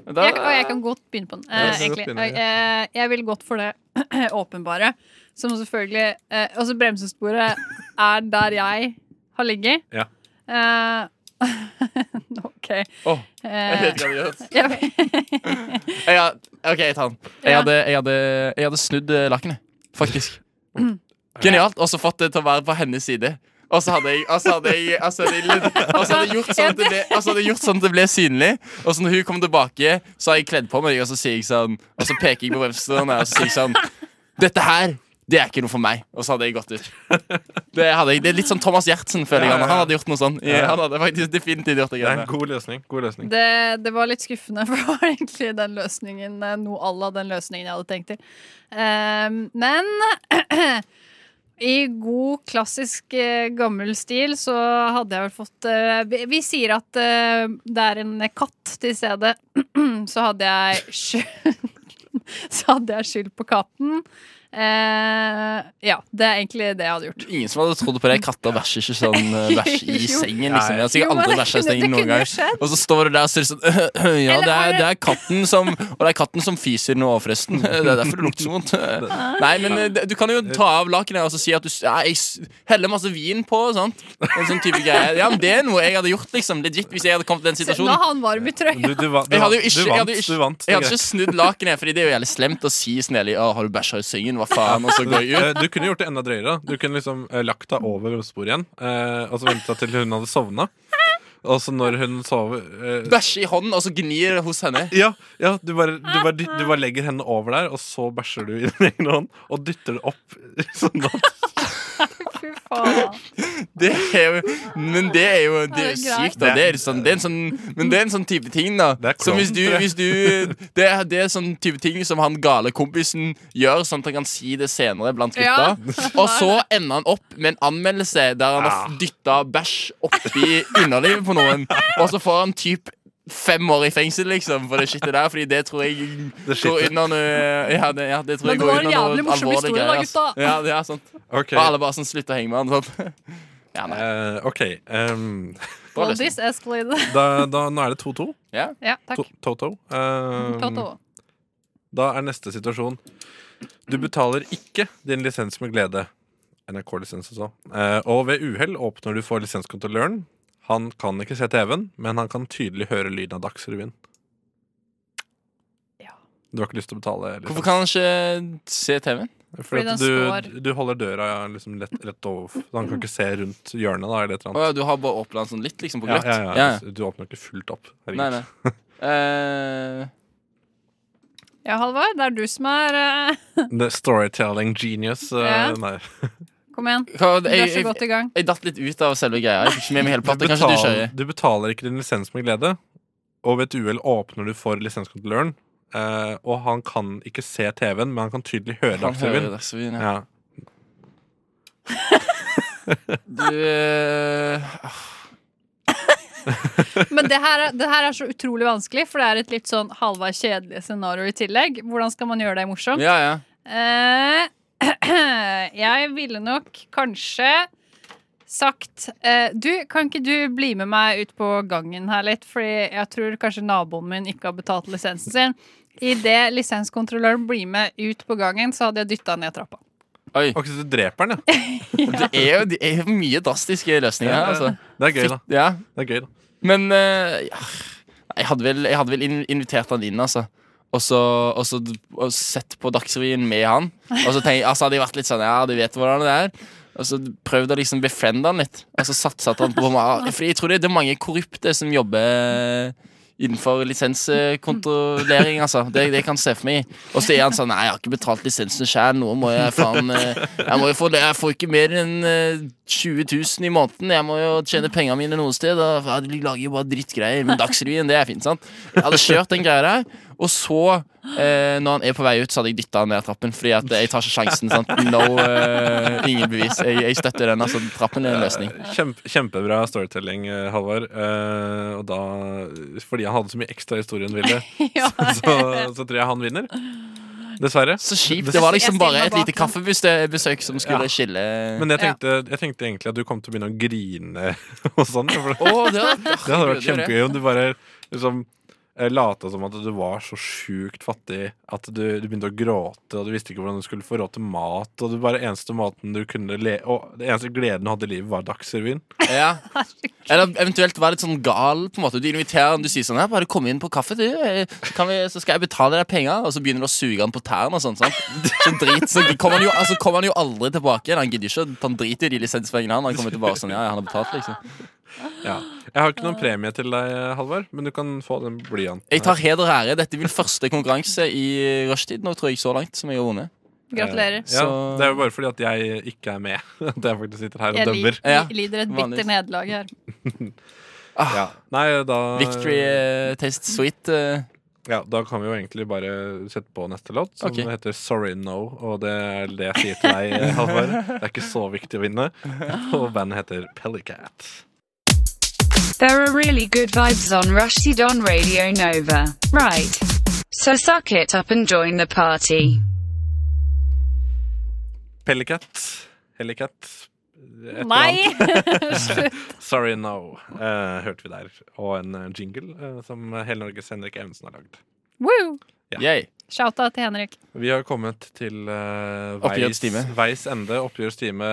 her? da. Jeg, og jeg kan godt begynne på den. Ja, eh, du kan godt egentlig. begynne, Eh, jeg vil godt for det [clears throat] åpenbare. Som selvfølgelig eh, Altså, bremsesporet er der jeg har ligget. Ja. Eh, [laughs] OK. Åh, jeg Eh, vet hva du gjør. jeg, [laughs] Jeg had- OK, jeg tar den. Jeg Ja. hadde, jeg hadde, jeg hadde snudd eh, lakenet, faktisk. Mm. Genialt. Og så fått det til å være på hennes side. Og så hadde jeg og så hadde jeg, og så hadde jeg, litt- og så hadde jeg gjort sånn at det ble, og så hadde jeg gjort sånn at det ble synlig. Og så når hun kom tilbake, så har jeg kledd på meg, og så sier jeg sånn Og så peker jeg på bremsene, og så sier jeg sånn Dette her, det er ikke noe for meg. Og så hadde jeg gått ut. Det, hadde jeg, det er litt sånn Thomas Gjertsen, føler jeg. Ja, ja, ja. Han, han hadde gjort noe sånn. Ja, han hadde faktisk definitivt gjort det. Det er en greiene. god løsning. God løsning. [laughs] Det, det var litt skuffende, [laughs] for det var egentlig den løsningen eh, noe à la den løsningen jeg hadde tenkt til. Ehm, men [clears throat] i god, klassisk eh, gammel stil så hadde jeg vel fått eh, vi, vi sier at eh, det er en katt til stedet. [clears throat] så hadde jeg skyld, [laughs] Så hadde jeg skyld på katten. Eh, ja, det er egentlig det jeg hadde gjort. Ingen som hadde trodd på det. Katter bæsjer ikke sånn eh, [laughs] bæsj i Jo. sengen. liksom Jeg har sikkert Jo, men aldri det bæsja i kunne- sengen det noen kunne jo gang. skjedd. Og så står du der og ser sånn [laughs] Ja, Eller det har er, du- det er katten som Og det er katten som fiser nå, [laughs] forresten. Det er derfor det lukter så vondt. Ah. Nei, men eh, du kan jo ta av lakenet og så si at du s- ja, jeg s- heller masse vin på. Sant? En sånn type greie. Ja, men Det er noe jeg hadde gjort, liksom. Legit, hvis jeg hadde kommet i den Se, Nå er situasjonen. han varm i trøya. Du, du, va- du, Jeg hadde jo vant. ikke- jeg hadde du vant. jo ikke- Du vant. Det Jeg er hadde greit. ikke snudd lakenet, Fordi det er jo jævlig slemt å si snedig Å, har du bæsja i sengen? Hva faen? [laughs] Og så går jeg ut. Eh, Du kunne gjort det enda drøyere. da. Du kunne liksom eh, lagt deg over sporet igjen, eh, og så venta til hun hadde sovna. Og så når hun sover eh, Bæsje i hånden, og så gnir hos henne. ja, ja, du bare, du, bare, dyt- du bare legger henne over der, og så bæsjer du i din egen hånd og dytter det opp. Sånn at [laughs] Fy faen. Det er jo, men det er jo det er jo det er greit. sykt, da. Det er sånn, det er en sånn, men det er en sånn type ting, da. Det er Som hvis du, klovn, tror jeg. hvis du det, er, det er sånn type ting som han gale kompisen gjør, sånn at han kan si det senere blant gutta. Ja. Og så ender han opp med en anmeldelse der han Ah. har dytta bæsj oppi underlivet på noen, og så får han typ Fem år i fengsel, liksom, for det skittet der. Fordi det tror jeg Det skittet. går under noe Ja, det, ja, det tror jeg Men det går var en under noe jævlig morsom alvorlig historie da, greier, ass. gutta. Ja, det er sant. OK. Og alle bare sånn slutter å henge med han. Sånn. [laughs] Ja, nei. Eh, ok, ehm, Bra Well, løsning. this escalated. [laughs] da, da, nå er det 2-2. Ja, takk. To- Toto. Ehm, Toto. Da er neste situasjon. Du betaler ikke din lisens med glede. NRK-lisens også. Eh, og ved uhell åpner du for lisenskontrolløren. Han kan ikke se TV-en, men han kan tydelig høre lyden av Dagsrevyen. Ja. Du har ikke lyst til å betale lisens. Hvorfor kan han ikke se TV-en? Fordi Fordi den at du, står- du holder døra liksom lett, rett overfor. så Han kan ikke se rundt hjørnet. Da, eller et Å eller annet. ja, du har bare åpna den sånn litt, liksom, på Ja, gløtt? ja, ja, Ja, ja. Du åpner ikke fullt opp. Herregud. Nei, [laughs] nei. Eh, Ja, Halvard, det er du som er eh, The storytelling genius. eh, Ja. Nei. Kom igjen. hva, Du jeg, er så jeg, godt i gang. jeg datt litt ut av selve greia. Jeg fikk ikke med meg hele Du platta. Kanskje du betaler, kjører? du betaler ikke din lisens med glede, og ved et uhell åpner du for lisenskontrolløren. eh, og han kan ikke se TV-en, men han kan tydelig høre Han hører Dagsrevyen. Dagsrevyen. Ja. Ja. Du eh, Men det her, er- det her er så utrolig vanskelig, for det er et litt sånn halvveis kjedelig scenario i tillegg. Hvordan skal man gjøre det morsomt? Ja, ja. Eh, [clears throat] jeg ville nok kanskje sagt eh, Du, kan ikke du bli med meg ut på gangen her litt? Fordi jeg tror kanskje naboen min ikke har betalt lisensen sin. Idet lisenskontrolløren blir med ut på gangen, så hadde jeg dytta ned trappa. [laughs] Oi. Ok, så du dreper den, [laughs] ja. Det er jo det er jo mye drastiske løsninger her, altså. Det er gøy, da. Ja. Det er gøy, da. Men eh, ja. jeg, hadde vel, jeg hadde vel in- invitert han inn, altså. Og så, og så d- og sett på Dagsrevyen med han. Og så tenk, altså, hadde jeg vært litt sånn Ja, du vet hvordan det er. Og så prøvd å liksom befriende han litt. Og så satset han på meg. Fordi jeg tror det, det er mange korrupte som jobber innenfor lisenskontrollering, altså. Det, det kan jeg se for meg. Og så er han sånn Nei, jeg har ikke betalt lisensen sjøl. Nå må jeg faen eh, Jeg må jo få det. Jeg får ikke mer enn eh, 20 000 i måneden. Jeg må jo tjene pengene mine noe sted. Og ja, de lager jo bare drittgreier. Men Dagsrevyen, det er fint, sant? Jeg hadde kjørt den greia der. Og så, eh, når han er på vei ut, så hadde jeg dytta han ned trappen. Fordi at jeg tar ikke sjansen. sant? No, eh, ingen bevis. Jeg, jeg støtter den. altså Trappen er en løsning. Eh, Kjempe, kjempebra storytelling, eh, Halvard. Eh, og da, fordi han hadde så mye ekstra historie enn [laughs] Ville, Ja. så, så tror jeg han vinner. Dessverre. Så kjipt. Det var Jeg liksom stiller bare meg et lite bak kaffebesøk som Ja. skulle skille eh, Men jeg tenkte, jeg tenkte egentlig at du kom til å begynne å grine og sånn. [laughs] For det, Å, det hadde det hadde vært kjempegøy om du bare liksom eh, lata som at du var så sjukt fattig at du, du begynte å gråte, og du visste ikke hvordan du skulle få råd til mat, og du bare eneste måten du kunne le Og det eneste gleden du hadde i livet, var Dagsrevyen. Ja. Eller eventuelt være litt sånn gal. på en måte Du inviterer han, du sier sånn her, 'Bare kom inn på kaffe, du, eh, kan vi, så skal jeg betale deg penger.' Og så begynner du å suge han på tærne og sånn. sant? Så drit, så kommer han, jo- altså, kommer han jo aldri tilbake igjen. Han gidder ikke, å- han driter jo i de lisenspengene. Han Han kommer tilbake sånn 'Ja, ja, han har betalt', liksom. Ja. Jeg har ikke noen premie til deg, Halvard, men du kan få den blyanten. Jeg tar heder og ære. Dette er min første konkurranse i rushtid nå, tror jeg, så langt, som jeg har vunnet. Gratulerer. Ja, Så- det er jo bare fordi at jeg ikke er med. [laughs] At jeg faktisk sitter her og Jeg dømmer. li- Ja, li- lider et bitter vanligvis. nederlag her. Ja. Nei, da, Victory eh, tastes sweet. eh. ja, da kan vi jo egentlig bare sette på neste låt, som Ok. heter Sorry No. Og det er det jeg sier til deg, Halvard. Det er ikke så viktig å vinne. Og bandet heter Pellycat. There are really good vibes on Rushdie on Radio Nova. Right. So suck it up and join the party. Pellycat. Hellycat. Et eller Nei! annet. Sorry No, eh, hørte vi der. Og en eh, jingle eh, som hele Norges Henrik Evensen har lagd. [laughs] Woo! Yay. Shouta til Henrik. Vi har kommet til eh, Oppgjørets veis, time. veis ende. Oppgjørets time,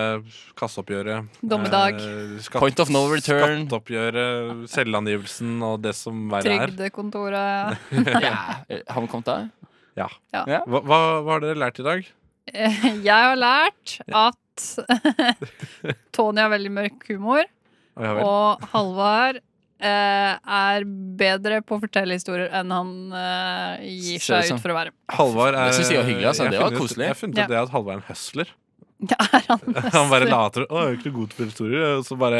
kasseoppgjøret. Dommedag. eh, skatt- Point of no return. Skatteoppgjøret, selvangivelsen og det som verre er. Trygdekontoret. Ja. Eh, Har vi kommet der? Ja. Ja. Ja. Hva, hva, hva har dere lært i dag? Eh, Jeg har lært at [laughs] Tony har veldig mørk humor, Å, ja vel. og Halvard eh, er bedre på å fortelle historier enn han eh, gir Ser det seg sånn. ut for å være. [laughs] Halvard er Det synes jeg var hyggelig, altså. jeg Det har var funnet ut- koselig. Jeg har funnet Ja. ut det at Halvard er en hustler. Det er han. [laughs] Han bare later som. 'Å, jeg er ikke noe god til historier', og så bare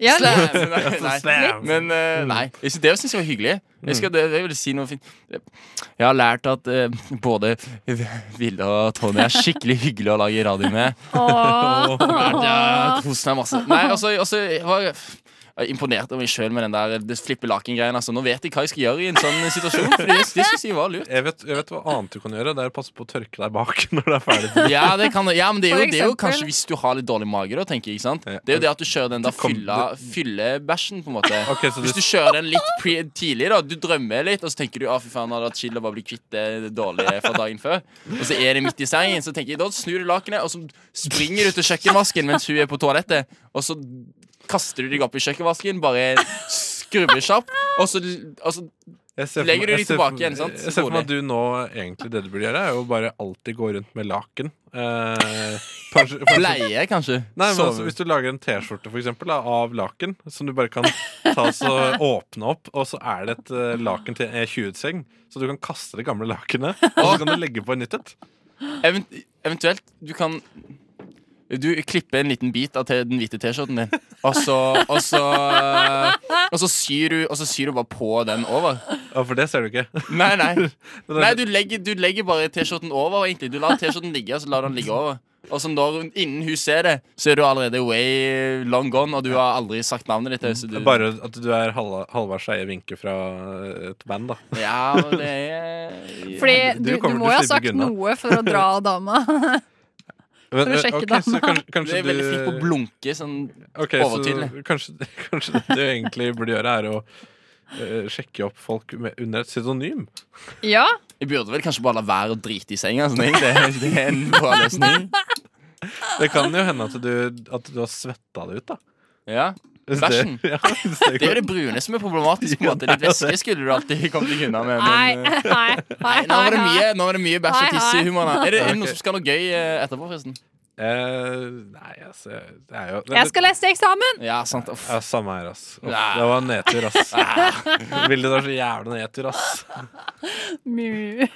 Jeg har [laughs] [laughs] lært- Slam. Nei. Slam. Men Mm. eh, nei, jeg synes, det synes jeg var hyggelig. Jeg, skal, det, jeg vil si noe fint. Jeg har lært at eh, både Vilde og Tony er skikkelig hyggelig å lage radio med. [laughs] [laughs] Åh. Jeg koser meg masse. Nei, altså, altså, jeg var jeg er imponert over meg sjøl med den der eh, det flippe laken-greien. Altså, nå vet jeg hva jeg skal gjøre i en sånn situasjon. Fordi det synes jeg var lurt. jeg vet, jeg vet hva annet du kan gjøre. Det er å passe på å tørke deg bak [laughs] når det er ferdig. Ja, det kan, ja, men det er, For jo, det er jo eksempel. kanskje hvis du har litt dårlig mage, da, tenker jeg. ikke sant? Ja. Det er jo det at du kjører den der kom- fylla- fyllebæsjen, på en måte. Ok, så Hvis du, du kjører den litt pre tidlig, da du drømmer litt, og så tenker du ah, fy faen, hadde vært chill å bare bli kvitt det dårlige fra dagen før, og så er det midt i sengen, så tenker jeg da snur du lakenet, og så springer du til kjøkkenvasken mens hun er på toalettet, og så kaster du deg opp i kjøkkenvasken, bare skrubber kjapt, og så, og så jeg ser for Legger meg- du jeg de ser for- tilbake igjen, sant? Jeg ser for meg Rolig. at du nå egentlig det du burde gjøre, er jo bare alltid gå rundt med laken. Eh, kanskje, kanskje, bleier jeg kanskje. Nei, men altså, Sover. Hvis du lager en T-skjorte for eksempel, da, av laken, som du bare kan ta og [laughs] så åpne opp, og så er det et eh, laken til en E20-seng, så du kan kaste det gamle [laughs] lakenet, og så kan du legge på et nytt et. Event eventuelt, du kan du klipper en liten bit av te- den hvite T-skjorten din, og så, og, så, og, så syr du, og så syr du bare på den over. Ja, for det ser du ikke. [laughs] Nei, nei. Det er- Nei, du legger, du legger bare T-skjorten over, egentlig. Du lar T-skjorten ligge, og så lar du den ligge over. Og så når hun, innen hun ser det, så er du allerede way long gone, og du har aldri sagt navnet ditt. Så du, Bare at du er halva- Halvard Skeie vinke fra eh, et band, da. Ja, men det [laughs] er Fordi Du du, du kommer til må jo å ha slippe sagt unna. noe for å [laughs] dra av dama. Men, For å eh, sjekke ok, dama. så [laughs] kanskje, Du kanskje er veldig flink på å blunke sånn Ok, så Overtydelig. [laughs] kanskje, kanskje det du egentlig burde gjøre, er å eh, sjekke opp folk med, under et pseudonym. [laughs] Ja, Jeg burde vel kanskje bare la være å drite i senga. Sånn, egentlig. det, det er en bra løsning. Det kan jo hende at du, at du har svetta det ut, da. Ja. Hvis Bæsjen. Det, [laughs] ja, hvis det [laughs] Det er jo går. det brune som er problematisk. på en måte Litt væske skulle du alltid kommet deg unna med. nei, Men, eh, [laughs] nei, nei, nei, nå var det mye, nå var det mye bæsj og Nei, tiss i nei. humoren. her. Er det er det Ok. noe som skal noe gøy eh, etterpå, forresten? Eh, nei, altså Det er jo det, Jeg skal lese til eksamen! Ja, sant. Uff. ja, Samme her, ass. Uff, Nei. Det var nedtur, [laughs] ass. Ville det var så jævla nedtur, ass. Mu.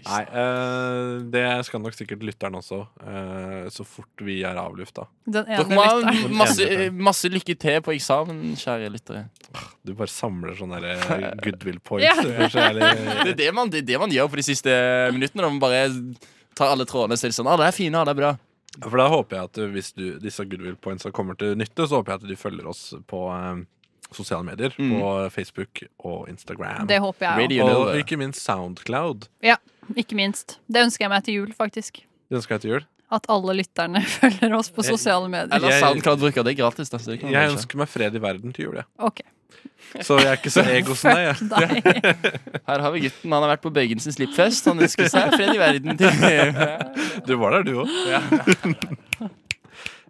Nei, eh, det skal nok sikkert lytteren også, eh, så fort vi er avlufta. Den Dere ene må ha lytteren. masse, masse lykke til på eksamen, kjære lyttere. Du bare samler sånne [laughs] der eh, goodwill points. Ja. Du blir så jævlig- [laughs] Det er det man, det er det man gjør på de siste minuttene. Da man bare tar alle trådene og ser sånn. Ah, det er fine, ah, det er bra. For da håper jeg at du, hvis du, disse goodwill pointsa kommer til nytte, så håper jeg at du følger oss på eh, sosiale medier. Mm. På Facebook og Instagram. Det håper jeg Radio Nova. og ikke minst Soundcloud. òg. Ikke minst. Det ønsker jeg meg til jul, faktisk. Det ønsker jeg til jul. Alle lytterne [laughs] følger oss på sosiale medier. Eller Jeg- Soundcloud bruker det gratis. Da, så det kan man Jeg bare ønsker meg fred i verden til jul, jeg. Ok, Så jeg er ikke så ego som deg. jeg. deg. se. Her har vi gutten. Han har vært på Bøygens slippfest. Han ønsker seg fred i verden. [laughs] til Du var der, du òg.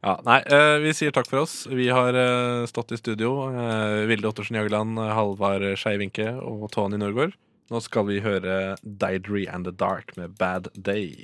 Ja. nei, eh, vi sier takk for oss. Vi har eh, stått i studio. eh, Vilde Ottersen Jagland, eh, Halvard Skei Winke og Tony Norgård. Nå skal vi høre Diedry and the Dark med Bad Day.